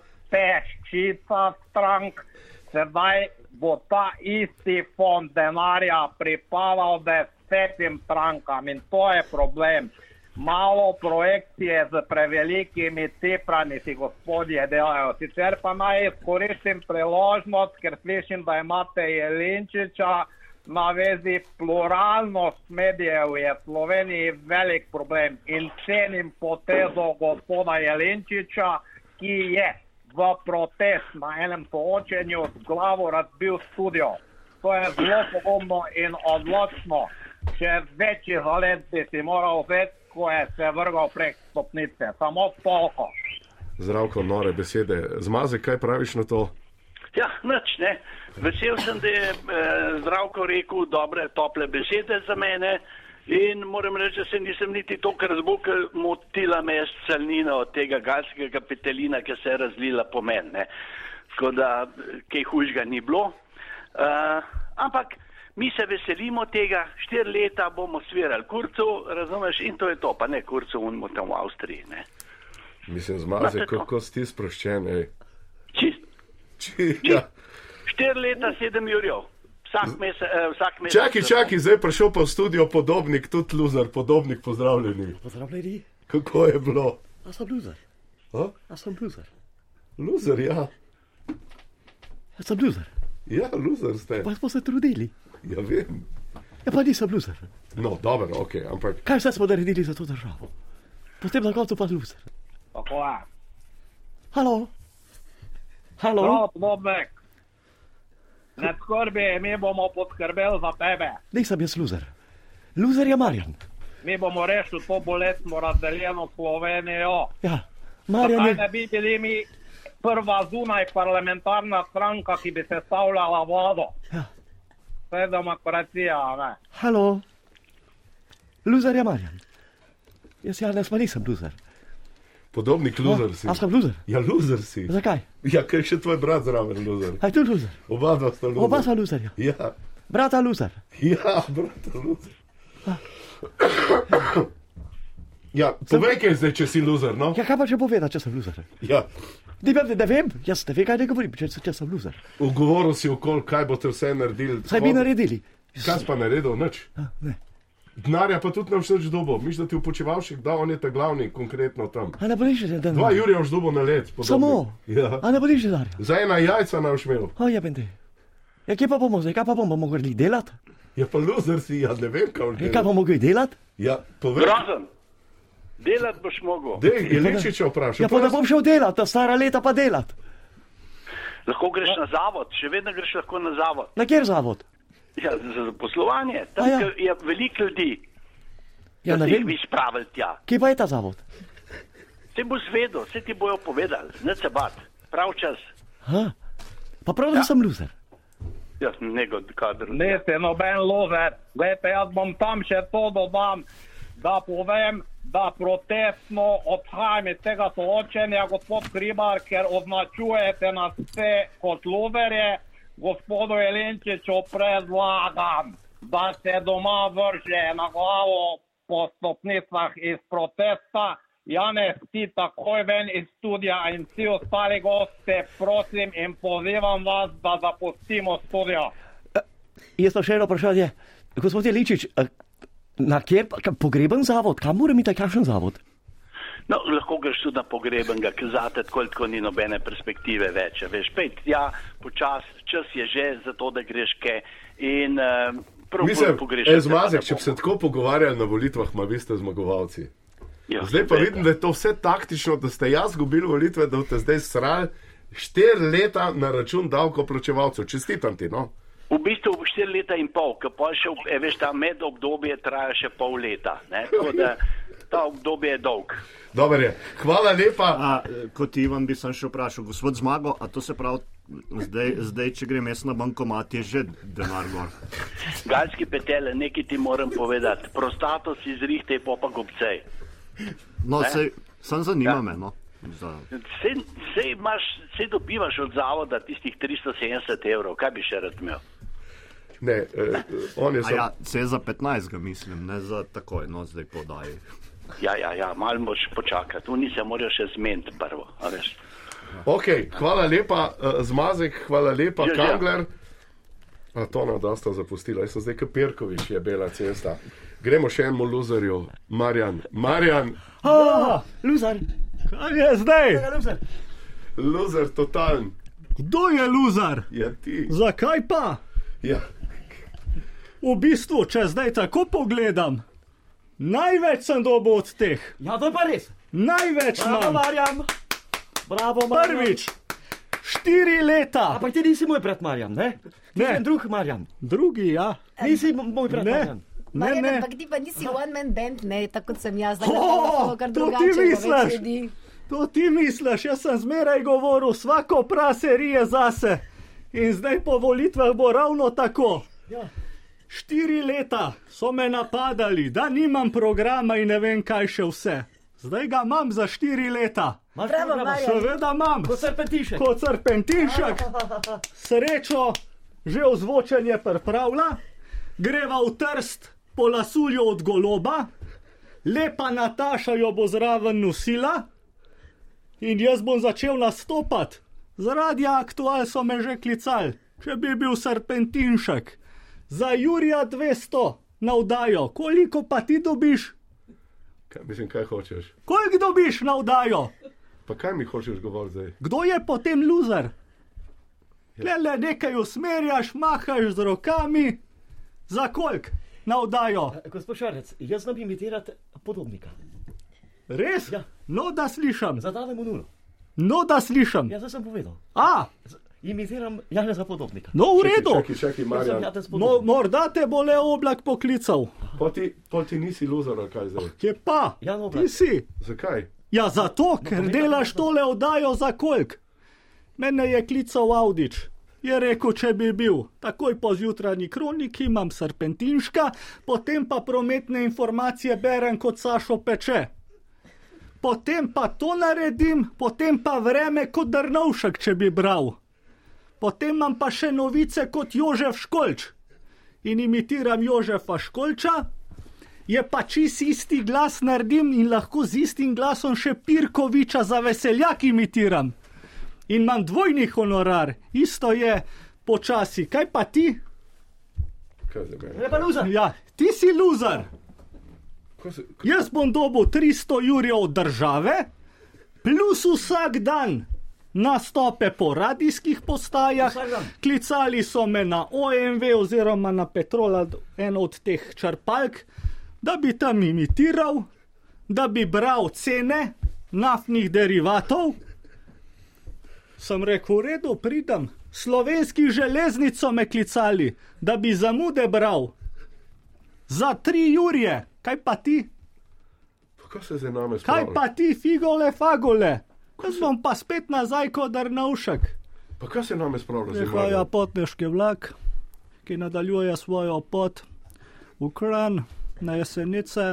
S5: peščica strank, sedaj bo ta isti fond denarja pripadal desetim strankam in to je problem. Malo projekcije z prevelikimi ciframi si gospodje delajo. Sicer pa naj izkoristim priložnost, ker slišim, da imate Jelinčiča na vezi pluralnost medijev je v Sloveniji velik problem in cenim potezo gospoda Jelinčiča, ki je v protest na enem soočenju z glavo razbil studio. To je zelo pogumno in odločno. Še večji zalet bi si moral vzeti, ko je se vrgal prek stopnice. Samo toliko.
S1: Zdravko, nore besede. Zmaze, kaj praviš na to?
S4: Ja, nič ne. Vesel sem, da je eh, zdravko rekel dobre, tople besede za mene. In moram reči, da se nisem niti to, kar zbog motila me je celnina od tega galskega kapitalina, ki se je razlila po meni. ne. Tako da eh, kaj hujšega ni bilo. Uh, ampak mi se veselimo tega, štiri leta bomo svirali kurcu, razumeš, in to je to, pa ne kurcu, unmo tam v Avstriji. Ne.
S1: Mislim, zmaze, kako si ti sproščen. ej.
S4: Čist,
S1: Či- Ja.
S4: štiri leta, sedem jurjev. Vsak mesec. eh, vsak mesec
S1: Čakaj, čakaj, zdaj je prišel pa v studio podobnik, tudi loser, podobnik, pozdravljeni.
S3: Pozdravljeni,
S1: Kako je bilo?
S3: a sem loser.
S1: A?
S3: A sem loser.
S1: Loser, ja.
S3: Sem loser,
S1: Ja, loser ste.
S3: pa smo se trudili.
S1: Ja, vem.
S3: Ja, pa nisem loser.
S1: No, dobro, ok, ampak
S3: Kaj vse smo naredili za to državo? Potem na koncu pa loser.
S5: Tako je.
S3: Halo? Halo?
S5: Prav, No, Bobek. Ne skrbi, mi bomo poskrbeli za tebe.
S3: Nisem jaz loser. Loser je Marjan.
S5: Mi bomo rešili to boletno razdeljeno Slovenijo.
S3: Ja, Marjan
S5: Zakaj ne
S3: je.
S5: bi bili mi prva zunaj parlamentarna stranka, ki bi sestavljala vlado?
S3: Ja.
S5: To je demokracija, a ne?
S3: Halo? Loser je Marjan. Jaz, Janes, pa nisem loser.
S1: podobnik loser si.
S3: A sem loser?
S1: Ja, loser si.
S3: Zakaj?
S1: Ja, ker še tvoj brat zraven loser.
S3: Aj tu loser.
S1: Oba dva sta loser.
S3: Oba sva loserja.
S1: Ja,
S3: Brata loser.
S1: ja, brat loser. Ja, povej, kaj zdaj, če si loser, no?
S3: Ja, kaj pa če povedati, če sem loser?
S1: Ja,
S3: Ne vem, ne vem, jaz ne vem, kaj ne govorim, če, če sem loser.
S1: ugovoril si okol, kaj boste vse naredili.
S3: Saj bi naredili.
S1: Kaj si pa naredil, nič.
S3: Ja, ne.
S1: Denarja pa tudi ne boš nič dobo. Miš, da ti upočevalšek da, on je ta glavni konkretno tam.
S3: A ne boliš že dan?
S1: Dva Jurija boš dobo na let. podobno.
S3: Samo.
S1: Ja.
S3: A ne boliš že dan?
S1: Za ena jajca nam šmel.
S3: O, je bende. Ja, kje pa bomo zdaj, kaj pa bomo mogli delati?
S1: Ja, pa loser si, ja ne vem, kam
S3: E,
S1: že.
S3: kaj bomo mogli delati?
S1: Ja, povej.
S4: Grozen. Delati boš mogel.
S1: Dej, Jeličiča vprašaj.
S3: Ja, pa ne bom šel delati, ta stara leta pa delati.
S4: Lahko greš
S3: Ja.
S4: na zavod, še vedno greš lahko na zavod.
S3: Na kjer zavod?
S4: Ja, za zaposlovanje, tam
S3: A ja.
S4: ja. je veliko ljudi,
S3: Ja, ne
S4: ki jih
S3: vem.
S4: bi spravili tja.
S3: Kje pa je ta zavod?
S4: Vse boš zvedel, vse ti bojo povedali, ne se bat, prav čas.
S3: Ha? Pa prav, da sem loser.
S4: Ja, nego kader.
S5: Niste noben no lover. Glejte, jaz bom tam še to dodam, da povem, da protestno odhajam iz tega soočenja, gospod Kribar, ker označujete nas vse kot loverje. Gospodu Jelenčiču predlagam, da se doma vrže na glavo po stopnicah iz protesta. Janez, ti takoj ven iz studia in vsi ostali gosti, prosim in pozivam vas, da zapustimo studio.
S3: Jaz pa še eno vprašanje. Gospod Jeličič, a na kjer pa- ka- pogreben zavod? Kam moram iti, kakšen zavod?
S4: No, lahko greš tudi na pogrebenega, ker zate tako ali tako ni nobene perspektive več. a Veš, pej tja, počas, čas je že za to, da greš ke in uh, prav
S1: Mislim,
S4: pogrešaš.
S1: e, zmazek, če bi se tako pogovarjali na volitvah, ma vi ste zmagovalci.
S4: Ja,
S1: Zdaj pa vidim, da je to vse taktično, da ste jaz izgubili volitve, da boste zdaj srali štiri leta na račun davkoplačevalcev. Čestitam ti, no.
S4: V bistvu štiri leta in pol, ki pa še, e, veš, ta med obdobje traja še pol leta. Ne? Tako da ta obdobje je dolg.
S1: Dober je. Hvala lepa.
S9: A, eh, kot Ivan bi sem še vprašal, gospod Zmago, a to se pravi, zdaj, zdaj če grem jaz na bankomat, je že denar gor.
S4: Galski petele, nekaj ti moram povedati. Prostato si zrihte, pa pa gobcej.
S9: No, sej, sem zanima
S4: Ja.
S9: ja. me. No. Za,
S4: Sej, sej, imaš, sej dobivaš od zavoda tistih 370 evrov, kaj bi še rad imel?
S1: Ne, eh, on je
S9: a
S1: sam.
S9: ja, se za 15, mislim, ne za takoj, no zdaj podaj.
S4: Ja, ja, ja malo moš počakati, tu nisem moral še zmeniti prvo. a veš.
S1: Okay, hvala lepa, eh, Zmazek, hvala lepa,
S4: Ja, ja.
S1: Kangler. A to nam da sta zapustila, jaz sem zdaj Kapirkovič, je bela cesta. Gremo še enemu loserju, Marjan. Marjan,
S3: A, loser.
S9: Kaj je zdaj?
S3: Ja, loser.
S1: loser totalen.
S9: Kdo je luzar?
S1: Ja, ti.
S9: Zakaj pa?
S1: Ja.
S9: V bistvu, če zdaj tako pogledam, največ sem dobil od teh,
S3: Ja, to je pa res.
S9: največ
S3: Bravo, Marjam. Bravo, Marjam.
S9: štiri leta,
S3: Ampak ti nisi moj brat Marjam, ne? Ti si
S9: Ne.
S3: en drug Marjam.
S9: drugi ja.
S3: Nisi m- moj brat Marjam.
S8: Marjan, ampak ti pa nisi one man band, ne, tako kot sem jaz, da
S9: O,
S8: kar
S9: to ti
S8: drugače. bo več
S9: misliš?
S8: ljudi.
S9: To ti misliš, jaz sem zmeraj govoril, vsako praserije zase. In zdaj po volitvah bo ravno tako. Štiri leta so me napadali, da nimam programa in ne vem kaj še vse. Zdaj ga imam za štiri leta.
S3: Imaš
S8: Bravo,
S3: programa?
S8: Marjan.
S9: Seveda imam,
S3: Ko serpentiše.
S9: kot serpentinšek, srečo, že ozvočenje pripravlja, greva v trst, po lasulju od goloba, lepa Nataša jo bo zraven nosila in jaz bom začel nastopati. Zaradi aktual so me že klicali, če bi bil serpentinšek. Za Jurija 200 navdajo, koliko pa ti dobiš,
S1: Kaj, mislim, kaj hočeš?
S9: koliko dobiš navdajo,
S1: Pa kaj mi hočeš govoriti zdaj?
S9: kdo je potem loser? Le, le, nekaj usmerjaš, mahaš z rokami, za kolik navdajo.
S3: Eh, Gospod Šarec, jaz znam imitirati podobnika.
S9: Res?
S3: Ja.
S9: No, da slišim,
S3: Zadavim v nulo.
S9: no, da slišim.
S3: Ja, zdaj sem povedal.
S9: A,
S3: Imitiram Janeza podobnika.
S9: no, v redu.
S10: Čakaj, čakaj,
S3: Jaz sem
S10: Marjan.
S3: Janez
S9: No,
S3: podobnik.
S9: morda te bo le oblak poklical.
S10: Pol ti, pol ti nisi iluzor, ali kaj zdaj.
S9: Kje pa?
S3: Ja, no,
S9: ti
S3: Oblak.
S9: si.
S10: Zakaj?
S9: Ja, zato, ker delaš tole oddajo za kolik. Mene je klical Avdič. Je rekel, če bi bil. Takoj po zjutranji kroniki imam serpentinška, potem pa prometne informacije berem kot Sašo peče. Potem pa to naredim, potem pa vreme kot Drnovšek, če bi bral. Potem imam pa še novice kot Jožef Školč. In imitiram Jožefa Školča, je pa čist isti glas naredim in lahko z istim glasom še Pirkoviča za veseljak imitiram. In imam dvojni honorar, isto je počasi. Kaj pa ti?
S10: Kaj zdaj meni?
S3: Ne pa luza.
S9: Ja, ti si luzar.
S10: Ko se- ko-
S9: Jaz bom dobil 300 jurjev od države, plus vsak dan nastope po radijskih postajah.
S3: Vsak dan.
S9: Klicali so me na OMV oziroma na Petrola, eno od teh črpalk, da bi tam imitiral, da bi bral cene naftnih derivatov. Sem rekel, v redu, pridem. Slovenski železnico me klicali, da bi zamude bral. Za tri jurje, kaj pa ti?
S10: Ko se zdaj name
S9: Kaj pač,
S10: spravlja?
S9: pa ti, figole, fagole? Jaz bom pa spet nazaj kot Drnovšek.
S10: Pa kaj se name spravlja? zdaj,
S9: Prihaja
S10: Marjan?
S9: potniški vlak, ki nadaljuje svojo pot v Kran, na Jesenice,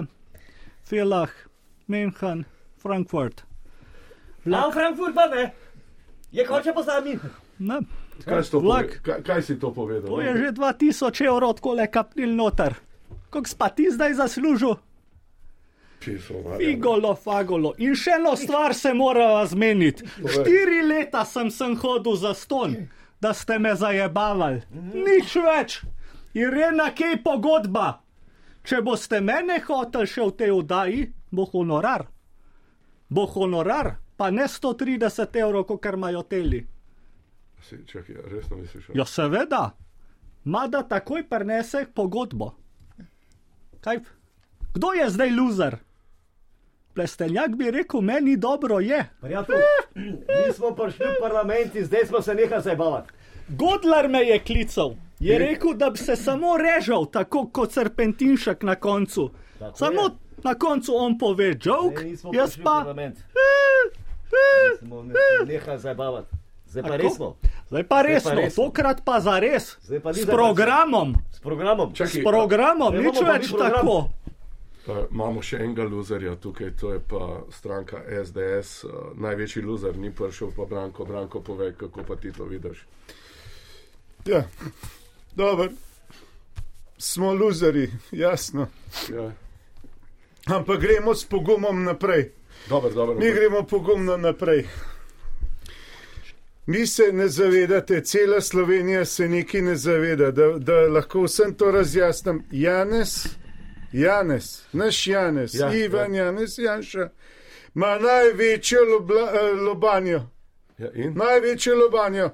S9: Filah, München, Frankfurt.
S3: A v Frankfurt pa ne. Je konča po sami.
S9: Ne,
S10: Kaj, si to
S9: Vlak.
S10: pove- kaj, kaj si to povedal?
S9: to je že 2000 evrov, tako le kapnil noter. Kako pa ti zdaj zaslužil?
S10: Figo.
S9: Figolo, fagolo. In še eno stvar se morava zmeniti. Štiri leta sem sem hodil za ston, da ste me zajebavali. Nič več. Irena, kje je pogodba? Če boste mene hoteli še v tej oddaji, bo honorar. Bo honorar, pa ne 130 evrov, kot kar imajo teli.
S10: Čakaj, resno misliš?
S9: Ja, seveda. Mada takoj prenese pogodbo. Kaj? Kdo je zdaj loser? Plestenjak bi rekel, meni dobro je. Eh,
S6: Prijatelj, mi smo prišli v parlament in zdaj smo se nehali zabavati.
S9: Godlar me je klical. Je rekel, da bi se samo režal, tako kot serpentinšek na koncu. Tako samo je. na koncu on pove, žog,
S6: Mi smo
S9: jaz
S6: prišli v
S9: pa.
S6: parlament.
S9: Eh,
S6: Smo ne- nehali zabavati. Zdaj pa
S9: Tako?
S6: res smo.
S9: Zdaj pa resno,
S6: resno.
S9: tokrat pa za res.
S6: Zdaj pa ni
S9: S
S6: za res.
S9: programom,
S6: S programom.
S9: s
S10: Čakaj,
S9: programom,
S6: Zdaj
S9: nič
S6: imamo pa mi
S9: več
S6: program.
S9: tako.
S10: eh, imamo še enega loserja tukaj, to je pa stranka SDS. eh, Največji loser ni prišel, pa Branko, Branko pove, kako pa ti to vidiš.
S11: Ja, dobro. Smo luzeri, jasno.
S10: Ja.
S11: Ampak gremo s pogumom naprej.
S10: Dobar, dobar,
S11: Mi gremo pogumno naprej. Vi se ne zavedate, cela Slovenija se neki ne zaveda, da, da lahko vsem to razjasnim. Janes, Janes, naš Janes,
S10: Ja,
S11: ja, Ivan ja. Janes Janša, ima največjo lobla, eh, lobanjo,
S10: Ja, in?
S11: največjo lobanjo.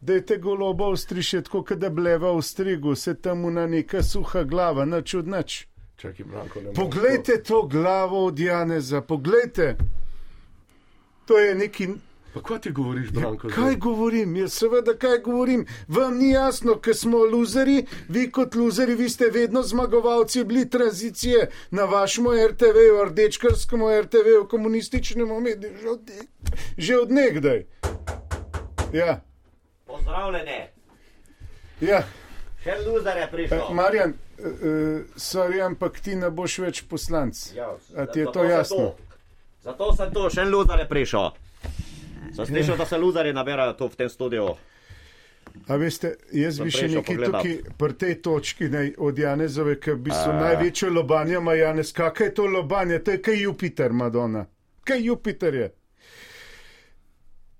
S11: Dajte goloba ostrišiti, tako kot da bleva v strigu, se tam una neka suha glava, nič od nič.
S10: Čakaj, Branko, ne moreš
S11: Poglejte to glavo od Janeza, poglejte. To je neki. Ja,
S10: to. Pa kaj ti govoriš, Branko?
S11: Kaj
S10: zdaj?
S11: govorim? Jaz seveda kaj govorim. Vam ni jasno, ker smo luzeri, vi kot luzeri, vi ste vedno zmagovalci bili tranzicije na vašem RTV, rdečkarskem RTV, komunističnem omedju, že, od, že odnegdaj. Ja,
S6: Pozdravljene.
S11: ja.
S6: Še loser je
S11: Eh,
S6: prišel.
S11: Marjan, uh, sorry, ampak ti ne boš več poslanc.
S6: Ja,
S11: A ti je
S6: zato
S11: to
S6: sem
S11: jasno?
S6: Zato sem to, še en loser je prišel. Sem slišal, da se loserji nabirajo tu v tem studiu.
S11: A veste, jaz
S6: Sem
S11: bi še
S6: prišel
S11: nekaj
S6: pogledat.
S11: tukaj, pri tej točki ne, od Janezove, ki bi so največjo lobanje, ima Janez, kakaj je to lobanje, to je kaj Jupiter, Madonna. Kaj Jupiter je?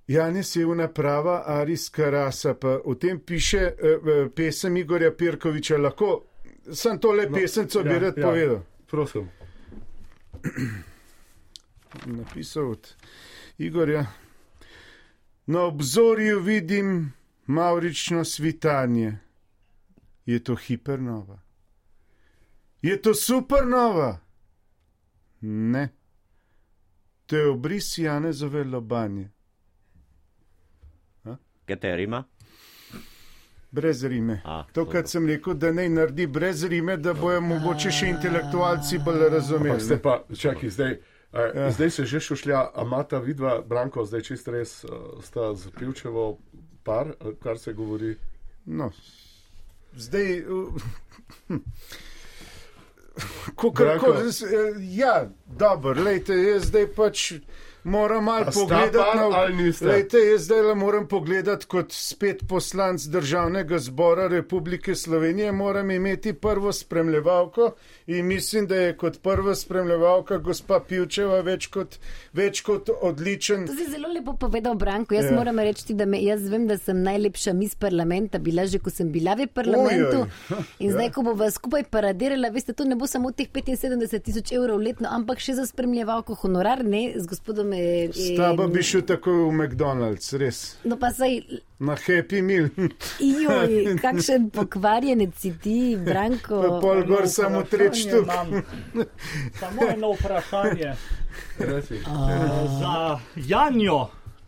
S11: Janez je una prava arijska rasa, pa o tem piše eh, eh, pesem Igorja Pirkoviča, lahko sem tole pesemco bi
S10: ja,
S11: rad
S10: ja.
S11: povedal.
S10: Prosim.
S11: napisal od Igorja. Na obzorju vidim Mavrično svitanje. Je to hipernova? Je to supernova? Ne. To je obris Janezove lobanje.
S3: Katerima?
S11: Brez rime. To, kar sem rekel, da naj naredi brez rime, da bojo mogoče še intelektualci bolj razumeli.
S1: Ampak ste
S11: ne. Ja.
S1: pa, čakaj, zdaj, eh, zdaj se že šušlja, a mata vidva, Branko, zdaj čist res eh, sta z Pivčevo par, eh, kar se govori.
S11: No, zdaj.
S1: Branko.
S11: Kako, ja, dobro, lejte, jaz zdaj pač moram malo
S1: A sta
S11: pogledati
S1: par ali nista?
S11: Lejte, jaz zdaj le moram pogledati kot spet poslanc Državnega zbora Republike Slovenije, moram imeti prvo spremljevalko in mislim, da je kot prva spremljevalka gospa Pivčeva več kot, več kot odličen.
S12: To si zelo lepo povedal, Branko. Jaz
S11: Ja.
S12: yeah. moram reči, da me, jaz vem, da sem najlepša mis parlamenta bila že, ko sem bila v parlamentu.
S11: Ojoj.
S12: In zdaj,
S11: Ja.
S12: ko bova skupaj paradirala, veste, to ne bo samo teh 75 tisoč evrov letno, ampak še za spremljevalko honorar, ne, z gospodom. eh,
S11: S tabo
S12: eh,
S11: bi šel takoj v McDonald's, res.
S12: No pa saj,
S11: Na Happy Meal.
S12: joj, kakšen pokvarjenec si ti, Branko.
S11: Pa pol gor samo treč tu.
S9: Samo eno vprašanje.
S1: Reci.
S9: Eh, Za Janjo,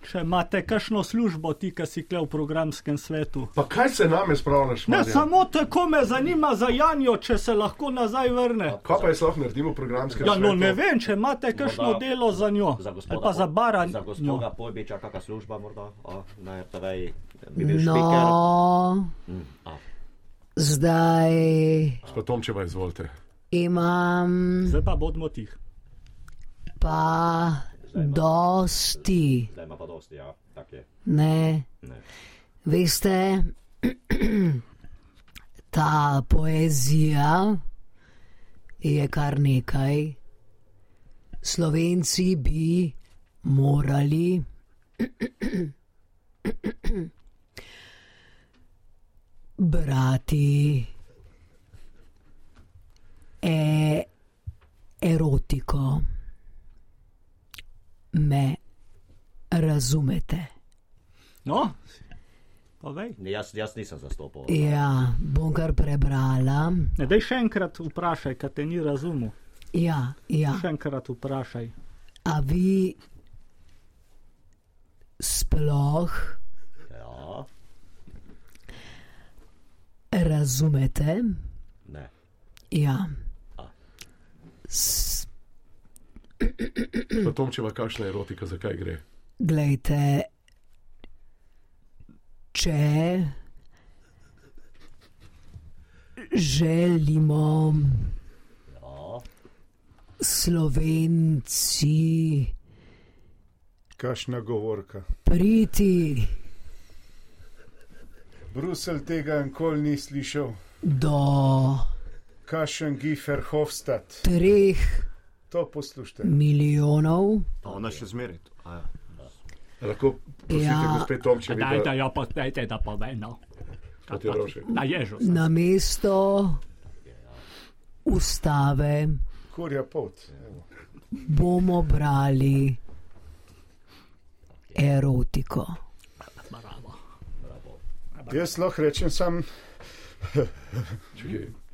S9: če imate kakšno službo, ti, ki si kle v programskem svetu.
S1: Pa kaj se name spravljaš?
S9: Ne,
S1: Marjan?
S9: Ja, samo tako me zanima za Janjo, če se lahko nazaj vrne.
S1: Kaj pa jaz lahko naredimo programske
S9: Ja, no ne vem, če imate kakšno
S3: Morda
S9: delo za njo.
S3: Za
S9: Ali
S3: gospoda,
S9: pa za baran.
S3: Za gospoda Pojbiča, kakšna služba morda a, na RTV-ji, bi bil špiker.
S12: No,
S3: Mm, a.
S12: zdaj
S1: Gospod Tomčeva, izvolite.
S12: imam
S9: Zdaj pa bodimo tih.
S12: pa dosti.
S3: Zdaj ima pa dosti, ja, tako je.
S12: Ne.
S3: Ne.
S12: Veste, ta poezija je kar nekaj. Slovenci bi morali brati e erotiko. Me razumete?
S9: No, povej.
S3: Jaz, jaz nisem zastopal.
S12: Ja, bom kar prebrala.
S9: Ne, daj še enkrat vprašaj, kaj te ni razumel.
S12: Ja, ja.
S9: Še enkrat vprašaj.
S12: A vi sploh
S3: Ja,
S12: razumete?
S3: ne.
S12: Ja. S-
S1: Gospod Tomčeva, kakšna erotika, zakaj gre?
S12: Glejte, če želimo Slovenci
S11: Kašna govorka.
S12: priti
S11: Brusel tega nikoli ni slišal.
S12: do
S11: Kašen Gifer Hofstad.
S12: treh
S11: To poslušajte.
S12: milijonov,
S2: Pa ona še zmeraj. tu. A ja.
S1: Lahko
S12: prosite, Ja. gospe Tomčevi, da-
S9: Dajte jo, dajte da povej, no. Kaj pa ti? Na ježu. sem.
S12: na mesto ustave
S11: Kurja pot.
S12: bomo brali erotiko.
S11: Jaz lahko rečem sam.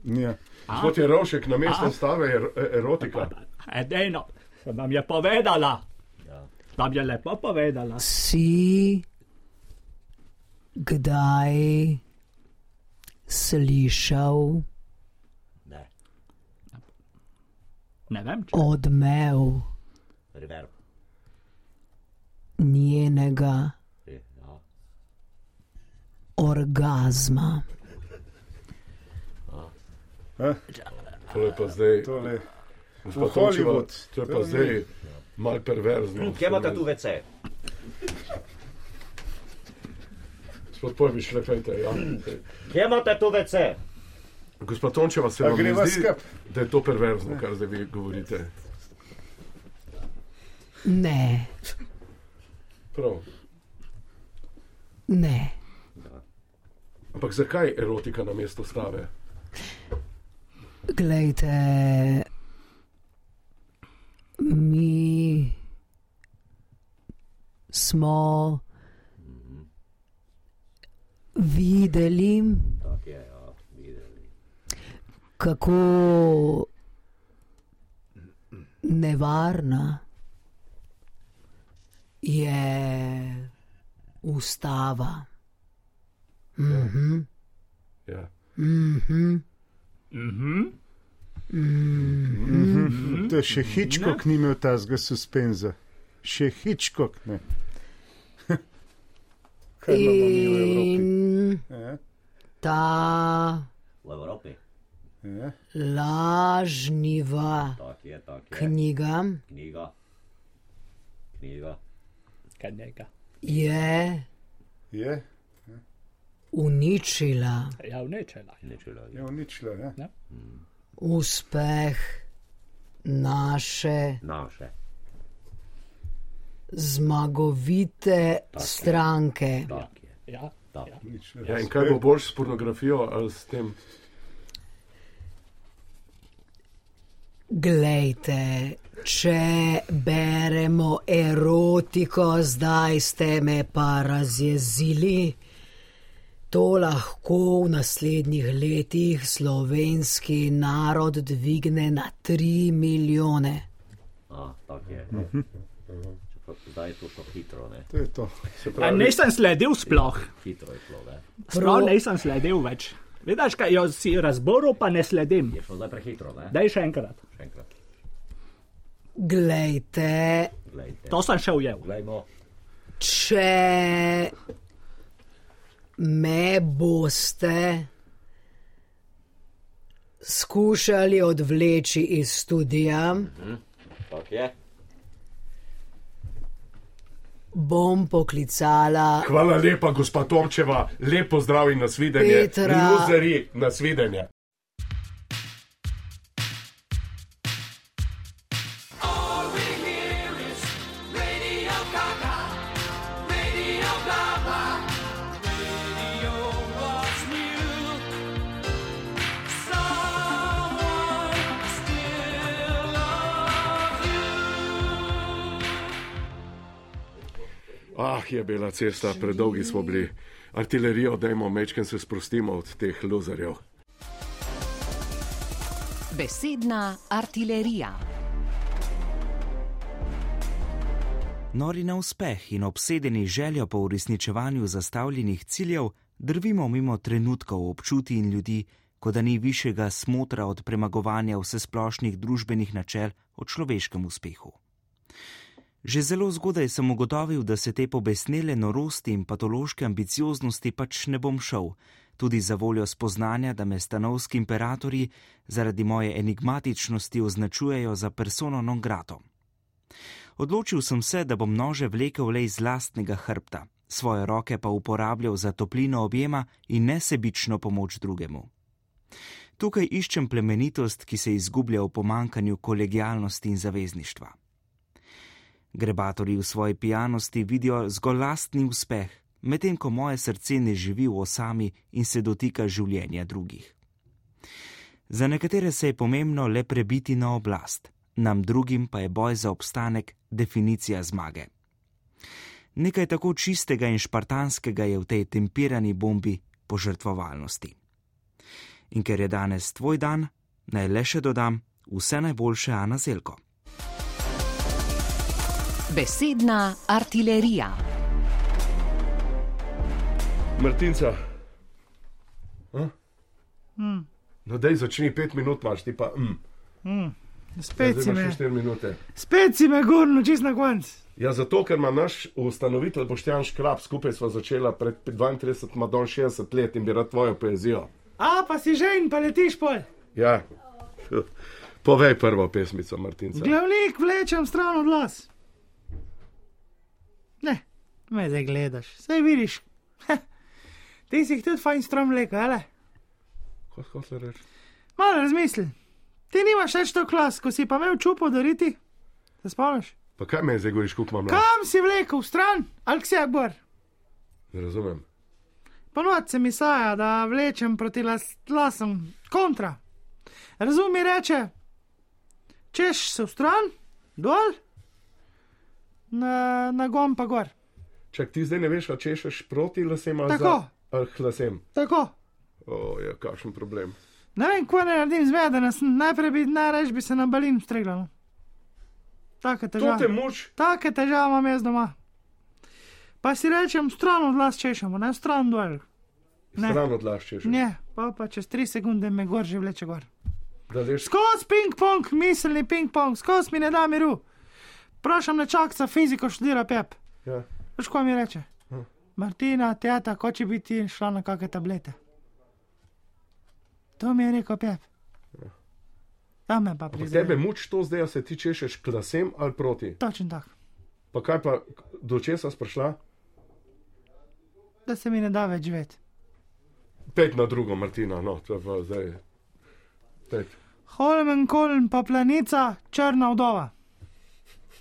S11: ja.
S1: Gospod Jerovšek, na mesto stave je erotika.
S9: Edino, sem vam no, je povedala.
S3: Ja.
S9: Vam je lepo povedala.
S12: Si kdaj slišal
S9: Ne vem, če.
S12: odmev
S3: Reverb.
S12: njenega
S3: je, Ja.
S12: orgazma?
S1: To je pa zdaj.
S11: Tole.
S1: Gospod
S11: V
S1: Tomčeva,
S11: Hollywood.
S1: To je
S11: To
S1: pa
S11: ni-
S1: zdaj mal
S11: Ja,
S1: perverzno.
S3: Hm, Kje imate tu WC?
S1: Gospod Pojbič, lepejte. Ja.
S3: Kje imate tu WC?
S1: Gospod Tomčeva, se
S11: A
S1: vam ne
S11: greva
S1: zdi,
S11: skup?
S1: da je to perverzno, kar zdaj vi govorite.
S12: Ne,
S1: Prav.
S12: ne.
S1: Ampak zakaj erotika na mesto stave?
S12: Glejte, mi smo videli,
S3: Tako je, ja, videli.
S12: kako nevarna je ustava. Mhm.
S1: Ja.
S12: Mhm.
S11: Mhm.
S12: Mhm.
S11: Mhm. To še Hitchcock ni imel tazga suspenza. Še Hitchcock ne. Kaj imamo mi v Evropi?
S12: In
S11: Ja.
S12: ta
S3: V Evropi.
S11: Ja.
S12: lažniva
S3: Tako je, tako je.
S12: knjiga
S3: Knjiga. Knjiga. Kaj njega?
S12: je
S11: Je?
S12: uničila
S9: Ja, uničila.
S3: Uničila. Mm.
S11: Je uničila, ja.
S9: ja.
S12: uspeh naše
S3: Naše.
S12: zmagovite
S1: je.
S12: stranke.
S9: Ja.
S1: Ja, in kaj bo boljš s pornografijo ali s tem?
S12: Glejte, če beremo erotiko, zdaj ste me pa razjezili. To lahko v naslednjih letih slovenski narod dvigne na tri milijone.
S3: A, tako je. Čeprav zdaj je to šlo hitro, ne?
S11: Mhm. To je to.
S9: A nisem sledil sploh.
S3: Hitro je šlo, ne?
S9: Sploh nisem sledil več. Vidiš, kaj jo si razboril, pa ne sledim.
S3: Je šlo zdaj prehitro, ne?
S9: Daj še enkrat.
S3: Še enkrat.
S12: Glejte,
S3: Glejte.
S9: To sem še ujel.
S3: Glejmo.
S12: če me boste skušali odvleči iz studija,
S3: Hm? Tako je.
S12: bom poklicala
S1: Hvala lepa, gospa Tomčeva, lepo zdrav in nasvidenje.
S12: Petra.
S1: Luzeri, nasvidenje. Ah, je bila cesta, predolgi smo bili. Artilerijo, dajmo mečken se sprostimo od teh luzerjev.
S13: Besedna artilerija.
S14: Nori na uspeh in obsedeni željo po uresničevanju zastavljenih ciljev, drvimo mimo trenutkov, občutij in ljudi, kot da ni višjega smotra od premagovanja vsesplošnih družbenih načel o človeškem uspehu. Že zelo zgodaj sem ugotovil, da se te pobesnele norosti in patološke ambicioznosti pač ne bom šel, tudi za voljo spoznanja, da me stanovski imperatori zaradi moje enigmatičnosti označujejo za persono non grato. Odločil sem se, da bom nože vlekel le iz lastnega hrbta, svoje roke pa uporabljal za toplino objema in nesebično pomoč drugemu. Tukaj iščem plemenitost, ki se izgublja v pomankanju kolegijalnosti in zavezništva. Grebatori v svoji pijanosti vidijo zgolj lastni uspeh, medtem ko moje srce ne živi v osami in se dotika življenja drugih. Za nekatere se je pomembno le prebiti na oblast, nam drugim pa je boj za obstanek definicija zmage. Nekaj tako čistega in špartanskega je v tej temperani bombi požrtvovalnosti. In ker je danes tvoj dan, naj le še dodam vse najboljše Ana Zelko.
S13: Besedna artilerija.
S1: Martinca,
S15: Mm,
S1: no dej začni, pet minut imaš, ti pa. Mm.
S15: mm.
S1: Ja,
S15: Spet si
S1: zdaj imaš
S15: me,
S1: še štiri minute.
S15: spet si me gurno, čist na konc.
S1: Ja, zato, ker ima naš ustanovitelj Boštjan Škrab, skupaj smo začela pred 32, madon 60 let in bi rad tvojo poezijo.
S15: A pa si že in pa letiš pol.
S1: Ja. Povej prvo pesmico, Martinca.
S15: Glavnik vlečem stran od las. Ne, me zdaj gledaš, saj vidiš. Heh, Ti si jih tudi fajn strom vlekel, ali?
S1: Kaj hočeš reči?
S15: Malo razmisli. Ti nimaš več to klas, ko si pa imel čupo dariti. Se spomniš?
S1: Pa kaj me zdaj govoriš, kuk imam? rad?
S15: Kam si vlekel stran, ali kse je bor?
S1: Ne razumem.
S15: Ponovadi no, se mi saja, da vlečem proti las, lasom, kontra. Razumi reče, češ se v stran, dol, na, na gon pa gor.
S1: Čak ti zdaj ne veš, a češeš proti lasem ali
S15: Tako,
S1: za. ali k lasem.
S15: Tako.
S1: O, je kakšen problem.
S15: Ne vem, ko ne naredim zmedena, sem. najprej bi najraž bi se nabalim streljal. no. Take težave.
S1: te muči?
S15: Take težave imam jaz doma. Pa si rečem, stran od las češemo, ne stran duel. Ne.
S1: Stran odlaščeš.
S15: Ne, pa, pa čez tri sekunde me gor že vleče gor.
S1: Da veš,
S15: Skozi ping-pong, miselni ping-pong, skozi mi ne da miru. Prašam nečakca, fiziko študira pep.
S1: Ja.
S15: Veš, ko mi reče?
S1: Hm.
S15: Martina, teta, hoče biti šla na kakšne tablete. To mi je rekel pep. Tam me pa
S1: Ampak
S15: prizna.
S1: tebe muči to zdaj, a se ti češeš k lasem ali proti.
S15: Točen tak,
S1: Pa kaj pa, do česa si prišla?
S15: da se mi ne da več živeti.
S1: Pet na drugo, Martina, no, to je pa zdaj. Pet.
S15: Holmen, kolm, pa planica, črna vdova.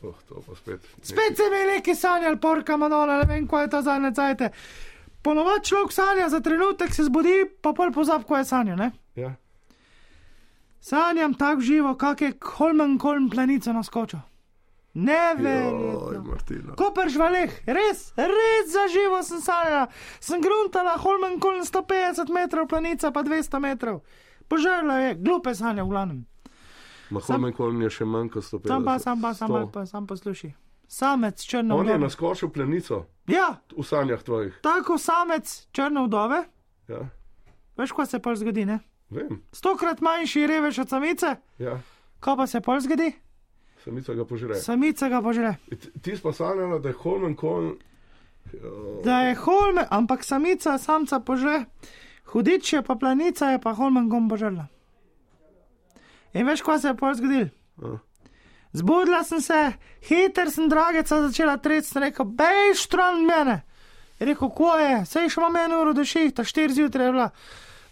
S1: Oh, to pa spet.
S15: Spet se mi je neki sanjal, porka Madonna, ne vem, kaj je to zadnje cajte. Ponovaj človek sanja, za trenutek se zbudi, pa pol pozab, ko je sanjal, ne?
S1: Ja.
S15: Sanjam tako živo, kak je Holmen Kolm planico naskočil. Ne vem.
S1: Oj, Martina.
S15: Koper žvaleh, res, res za živo sem sanjala. Sem gruntala Holmen Kolm 150 metrov, planica pa 200 metrov. Požarla je, glupe sanja v glavnem.
S1: Mahomen Kolm je še manj kot 150.
S15: Sam pa, sam pa, sam
S1: 100.
S15: pa, sam posluši. Samec črno
S1: On je
S15: vdove.
S1: naskočil plenico.
S15: Ja.
S1: V sanjah tvojih.
S15: Tako samec črno vdove,
S1: Ja.
S15: veš, ko se pol zgodi, ne?
S1: Vem.
S15: Stokrat manjši revež od samice,
S1: Ja.
S15: ko pa se pol zgodi,
S1: Samica ga požre.
S15: samica ga požre.
S1: Ti- Ti pa sanjala, da je Holmen ja. Kolm.
S15: Da je Holme, ampak samica, samca požre, hudič je pa planica, je pa Holmen gom požrla. In veš, kaj se je pol zgodil? Zbudila sem se, hiter sem drageca začela treti, sem rekel, bej stran od mene. Je rekel, ko je, sej še imam eno uro do šihta, štiri zjutraj je bila.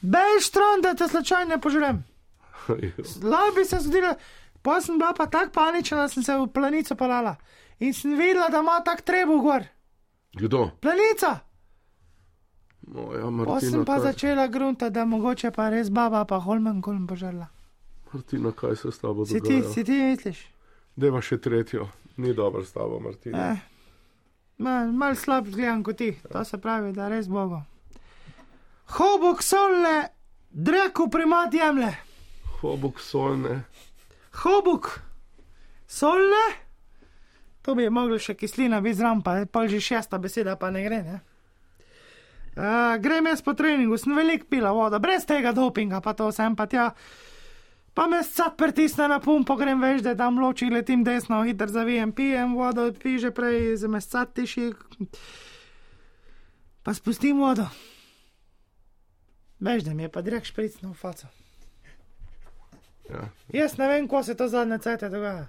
S15: Bej stran, da te slučajno ne požrem. Laj bi se zgodila, pa sem bila pa tako panična, da sem se v planico palala. In sem videla, da ima tak trebo gor.
S1: Kdo?
S15: Planica!
S1: Moja
S15: Pa
S1: Martina.
S15: sem pa
S1: kaj-
S15: začela grunta, da mogoče pa res baba, pa Holmen kolm požrla.
S1: Martina, kaj se s tabo
S15: Si ti,
S1: dogaja?
S15: si ti misliš?
S1: Deva še tretjo. Ni dobro s tabo, Martina.
S15: Eh. Mal, mal slab zgledam kot ti, to se pravi, da res bogo. Hobok solne, dreko primat jemlje.
S1: Hobok solne.
S15: Hobuk solne, to bi mogli še kislina biti zraven, pa pol že šesta beseda pa ne gre, ne? Uh, grem jaz po treningu, sem velik pila vodo, brez tega dopinga, pa to sem pa tja. Pa me sad pritisne na pumpo, grem več, da tam loči, letim desno, hiter zavijem, pijem vodo, piže prej, z me sad tiši. Pa spustim vodo. Veš, da mi je pa direkt špricno v faco.
S1: Ja.
S15: Jaz ne vem, ko se to zadnje cete dogaja.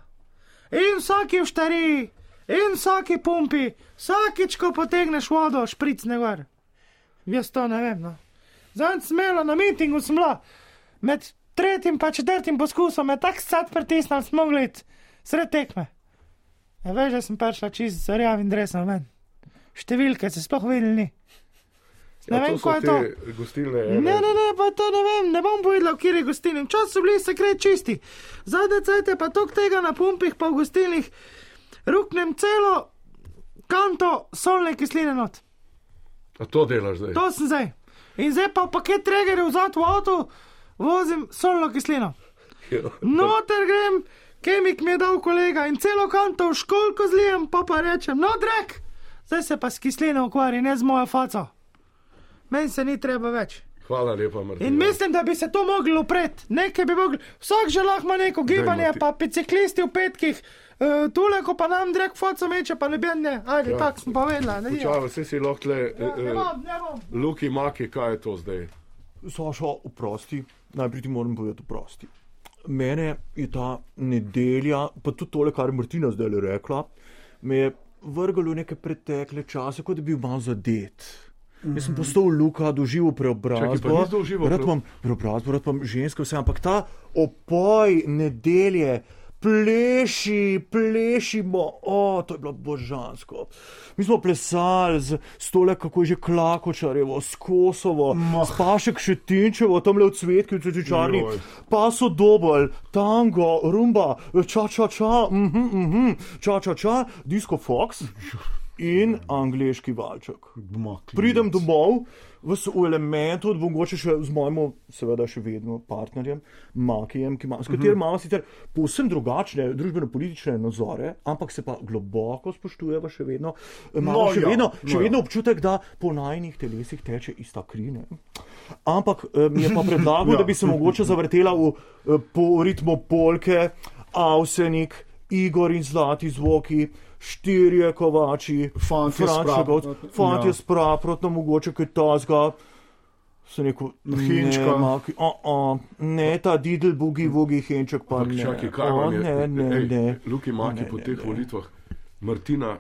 S15: In vsaki vštari, in vsaki pumpi, vsakič, ko potegneš vodo, špric ne gor. Jaz to ne vem. No. Zanj smelo na mitingu sem bila, med tretjim in četrtim poskusom me tak sad pritisnil, smo mogli iti sred tekme. Ja, veš, da sem prišla čist z rjavim dresom ven. Številke se sploh videli ni. Ne
S1: ja,
S15: vem,
S1: so
S15: ko je to.
S1: te Gostilne. ene.
S15: Ne, ne, ne, pa to ne vem, ne bom povedal, kje je gostilnik. Včasih so bili sekret čisti, zadnje cajte pa tok tega na pumpih, pa v gostilnih, ruknem celo kanto solne kisline not.
S1: A to delaš zdaj?
S15: To sem zdaj. In zdaj pa v paket regerjev vzad v avtu vozim solno kislino. Noter grem, kemik mi je dal kolega in celo kanto v školko zlijem, pa pa rečem, no drek, zdaj se pa s kislino ukvarjam, ne z mojo faco. Meni se ni treba več.
S1: Hvala lepa, Martina.
S15: In mislim, da bi se to mogli upreti, nekaj bi mogli. Vsak že lahko ima neko gibanje,
S1: Martin.
S15: pa biciklisti v petkih, uh, tule, ko pa nam drek foco meče, pa noben ne. Ajde,
S1: Ja.
S15: ja. tako sem povedala. ne, ja.
S1: Počava, vse si lahko tle. Ja,
S15: Ne bom, ne bom.
S1: Luki, maki, kaj je to zdaj?
S16: Saša, oprosti, najprej ti moram povedati, oprosti. Mene je ta nedelja, pa tudi tole, kar je Martina zdaj le rekla, me je vrglo v neke pretekle čase, kot da bi bil malo zadet. Mm. Jaz sem postal Luka, doživel
S1: Mhm. Čakaj, pa
S16: preobrazbo.
S1: nisi doživel
S16: rad imam preobrazbo, rad imam žensko, vse, ampak ta opoj nedelje. Pleši, plešimo, o, to je bilo božansko. Mi smo plesali z stole, kako je že Klakočarjevo, s Kosovo, s Pašek Šetinčevo, tam le v cvetki, v čečarni,
S1: Joj.
S16: pa so dobol, tango, rumba, ča ča ča, mhm, mhm, ča ča ča, disko Fox. in angliški valček. Pridem domov v, s- v elementu, mogoče še z mojim, seveda, še vedno partnerjem, Makijem, ki ima, s katerim
S2: Mhm.
S16: imamo sicer povsem drugačne družbeno-politične nazore, ampak se pa globoko spoštujeva še vedno. Imamo
S2: No
S16: še,
S2: ja,
S16: vedno,
S2: no
S16: še
S2: ja.
S16: vedno občutek, da po najnih telesih teče ista krine. Ampak eh, mi je pa predlagal,
S2: Ja.
S16: da bi se mogoče zavrtela v, eh, po ritmu polke, Avsenik, Igor in Zlati zvoki, štirje kovači,
S11: Fantje s
S16: Frančegovc,
S11: Praprotno.
S16: fantje
S11: Ja.
S16: s praprotno, mogoče kaj tazga. Se neko
S11: Hinčka.
S16: Ne, maki, a, a, ne, ta Didel, bugi, bugi, Henček pa
S1: Ampak
S16: ne.
S1: čakaj, kaj
S16: O,
S1: vam je?
S16: ne, ne,
S1: Ej,
S16: ne.
S1: Luki Maki
S16: Ne,
S1: po
S16: ne,
S1: teh
S16: ne.
S1: volitvah, Martina,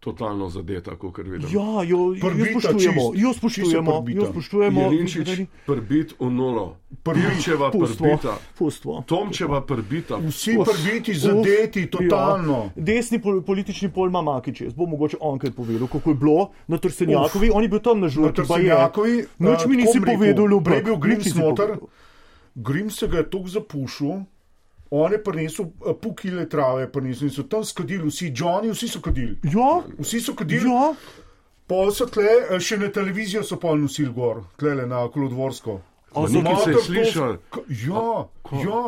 S1: totalno zadeta, kot vidim.
S16: Ja, jo, jo spoštujemo, jo spoštujemo, jo spoštujemo.
S1: Jelinčič,
S16: Videli-
S1: prbit v nolo, Pirčeva
S16: Pustvo,
S1: prbita,
S16: pustvo.
S1: Tomčeva prbita.
S16: Uf, uf, ja. Desni pol, politični pol ima Makič, jaz bom mogoče on kaj povedal, kako je bilo na Trstenjakovi,
S11: Uf.
S16: on je bil tam na žurki. baje.
S11: Na Trstenjakovi,
S16: Nič
S11: eh,
S16: mi nisi
S11: tako bom rekel,
S16: povedal, Ljubek.
S11: Prej je bil
S16: nič
S11: Grims
S16: nisi
S11: noter,
S16: povedal.
S11: Grims se ga je tako zapušil. On je prinesel eh, pol kile trave, prinesel in so tam skadili, vsi Johnny, vsi so kadili.
S16: Ja.
S11: Vsi so kadili. Ja. Pol so tle, eh, še na televizijo so pol nosili gor, tle na kolodvorsko.
S1: A so nekaj se
S11: Motor
S1: je
S11: to-
S1: slišalo?
S11: K- Ja, ja,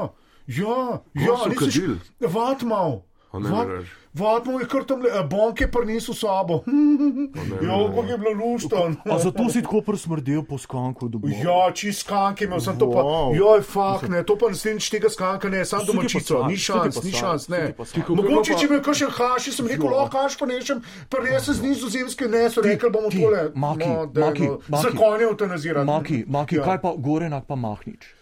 S11: ja, ja,
S1: so
S11: nisi š-
S1: kadili?
S11: Vatmal.
S1: A ne mi
S11: Vat-
S1: reči.
S11: Vatmal je kar tam, le- eh, bonke prinesel s sabo.
S1: mi
S11: Ja,
S1: reči.
S11: kako je bilo luštan.
S16: A zato si tako prsmrdel po skanku domov.
S11: Ja, čist skanke imel, sem to pa.
S16: Wow.
S11: Joj, fak, ne, to pa naslednjič tega skanka ne, sam
S16: Sudi
S11: domačico,
S16: pa sam,
S11: ni šans,
S16: sudi
S11: ni
S16: pa sam,
S11: šans, ne.
S16: sudi pa sam.
S11: Mogoče,
S16: Kako
S11: če
S16: pa-
S11: bi imel kakšen haš, jaz sem rekel,
S16: Ja.
S11: lahko haš ponešem, prinesem z nizozemske, ne, so rekli, bomo tole.
S16: Maki,
S11: no, daj,
S16: maki,
S11: no,
S16: maki.
S11: Zakone eutanazirati.
S16: Maki, maki
S11: Ja.
S16: kaj pa Gorenak pa Mahnič?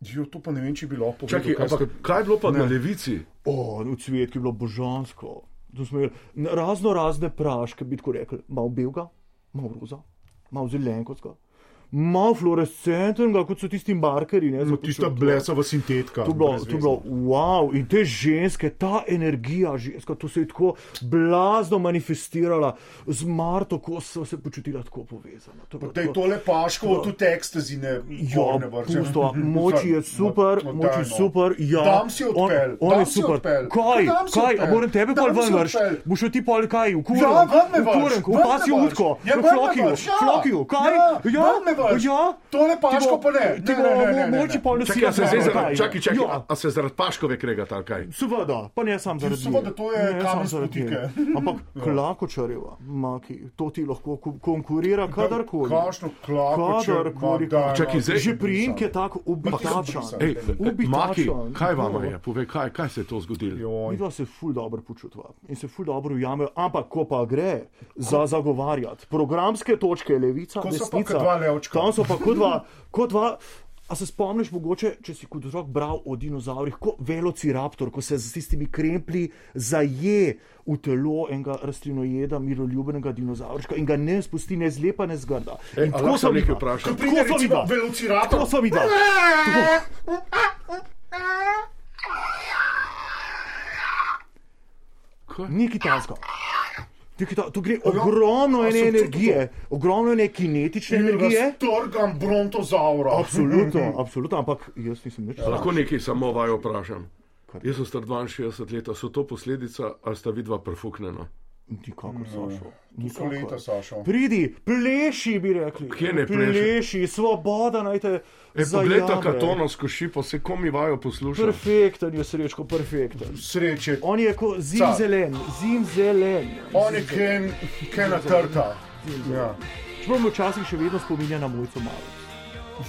S11: Jo, to pa ne vem, če bi lahko povedal.
S16: Čakaj, ampak
S11: ste-
S16: kaj je bilo pa na
S11: Ne.
S16: levici? O, v cvetki je bilo božansko. Tu smo imeli n- razno razne praške, bi tako rekel, malo belega, malo roza, malo zelenkoska. Malo fluorescentnega, kot so tisti markerji. Ne, no,
S11: Tista blesava sintetka.
S16: To je bilo, to je bilo wow, in te ženske, ta energija, ženska, to se je tako blazno manifestirala, z Marto, ko so se počutila tako povezana. To je bilo
S11: Da je
S16: tako-
S11: tole paško,
S16: to-
S11: tudi ekstazi ne.
S16: Ja,
S11: ne vrže.
S16: pusto, moči je super,
S11: Ma- ma
S16: moči
S11: daj,
S16: je
S11: no.
S16: super. Ja,
S11: Dam si odpel,
S16: on, on
S11: dam
S16: je
S11: si
S16: super.
S11: odpel.
S16: Kaj,
S11: Ja, dam si
S16: kaj,
S11: odpel.
S16: a moram tebe
S11: Dam
S16: pol
S11: si
S16: ven vrš?
S11: odpel.
S16: Boš šel ti pol kaj, v kurem,
S11: Ja, ven me
S16: v
S11: vrš,
S16: kurem, v
S11: ven me
S16: pasjo
S11: vrš.
S16: utko,
S11: Ja,
S16: v
S11: ven me
S16: flokiju,
S11: vrš, ja.
S16: flokiju, kaj,
S11: Ja,
S16: ja,
S11: ven me vrš.
S16: ja.
S11: Tole paško
S16: Ti bo-
S11: pa ne.
S16: Ti
S11: Ne,
S16: bo
S11: ne, ne, ne, ne,
S16: moči
S11: ne.
S16: pa ne
S1: Čakaj, a se zdaj zaradi,
S16: kaj,
S1: čakaj, čakaj,
S16: ja.
S1: a- a se zaradi Paškove krega tal kaj?
S16: Seveda, pa ne sam zaradi
S1: Seveda,
S16: nje.
S1: to je
S16: Ne
S1: kamen
S16: samo
S1: s
S16: zaradi
S1: potike. Ja.
S16: nje. Ampak klakočareva, maki, to ti lahko ku- konkurira kadarkoli.
S11: kakšno Klakočar,
S16: Kadarkoli.
S11: ma daj, no. Čakaj, zdaj-
S16: Že priimke tako
S1: Ej,
S16: ubitačan.
S1: Maki,
S16: Ubitačan.
S1: kaj vama je? Povej, kaj, kaj se je to zgodilo?
S16: Vidva se ful dobro počutva in se ful dobro ujamejo, ampak ko pa gre za zagovarjati programske točke, levica,
S11: Ko so pa
S16: desnica,
S11: kot dva levčka.
S16: tam so pa kot dva, kot dva. A se spomniš, mogoče, če si kot otrok bral o dinozavrih, kot velociraptor, ko se z tistimi kremplji zaje v telo enega rastlinojeda, miroljubenega dinozavrška in ga ne spusti, ne zlepa, ne zgrda.
S1: E,
S16: In
S1: a
S16: tako
S1: lahko
S16: sem
S1: nekaj
S16: videl,
S1: vprašam?
S16: tako sem videl,
S11: velociraptor.
S16: tako sem videl. Ni kitajsko. To gre ogromno
S11: A
S16: ene
S11: sem čutil
S16: energije, ogromno ene kinetične energije.
S11: Torgam brontozaura.
S16: Absolutno, absolutno, ampak jaz nisem več.
S1: A Ja. Lahko nekaj samo vaju vprašam. Jaz sem star 62 let, a so to posledica ali sta vidva prfuknjena?
S16: Nikakor, Sašo.
S11: Niso leta, Sašo.
S16: Eh, Pridi, pleši, bi rekli.
S1: Kje ne pleše?
S16: pleši? Svoboda naj te.
S1: E, poglej ta
S16: zajame.
S1: katonsko šipo, se komi vaju posluša.
S16: Perfekten je srečko, perfekten.
S11: Sreče.
S16: On je kot zim
S1: Car.
S16: zelen, zim zelen.
S11: On je ken, kena trta. Ja.
S16: Čeprav me včasih še vedno spominja na mojco malo.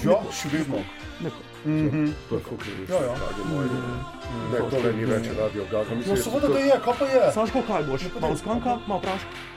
S11: Ja, še vedno. Mhm. Ja, ja.
S16: Mhm.
S11: Mhm.
S1: Ne, tole ni več radio, gaga.
S11: No, seveda, da je, kaj pa je?
S16: Saško, kaj boš? Malo skanka, malo praška.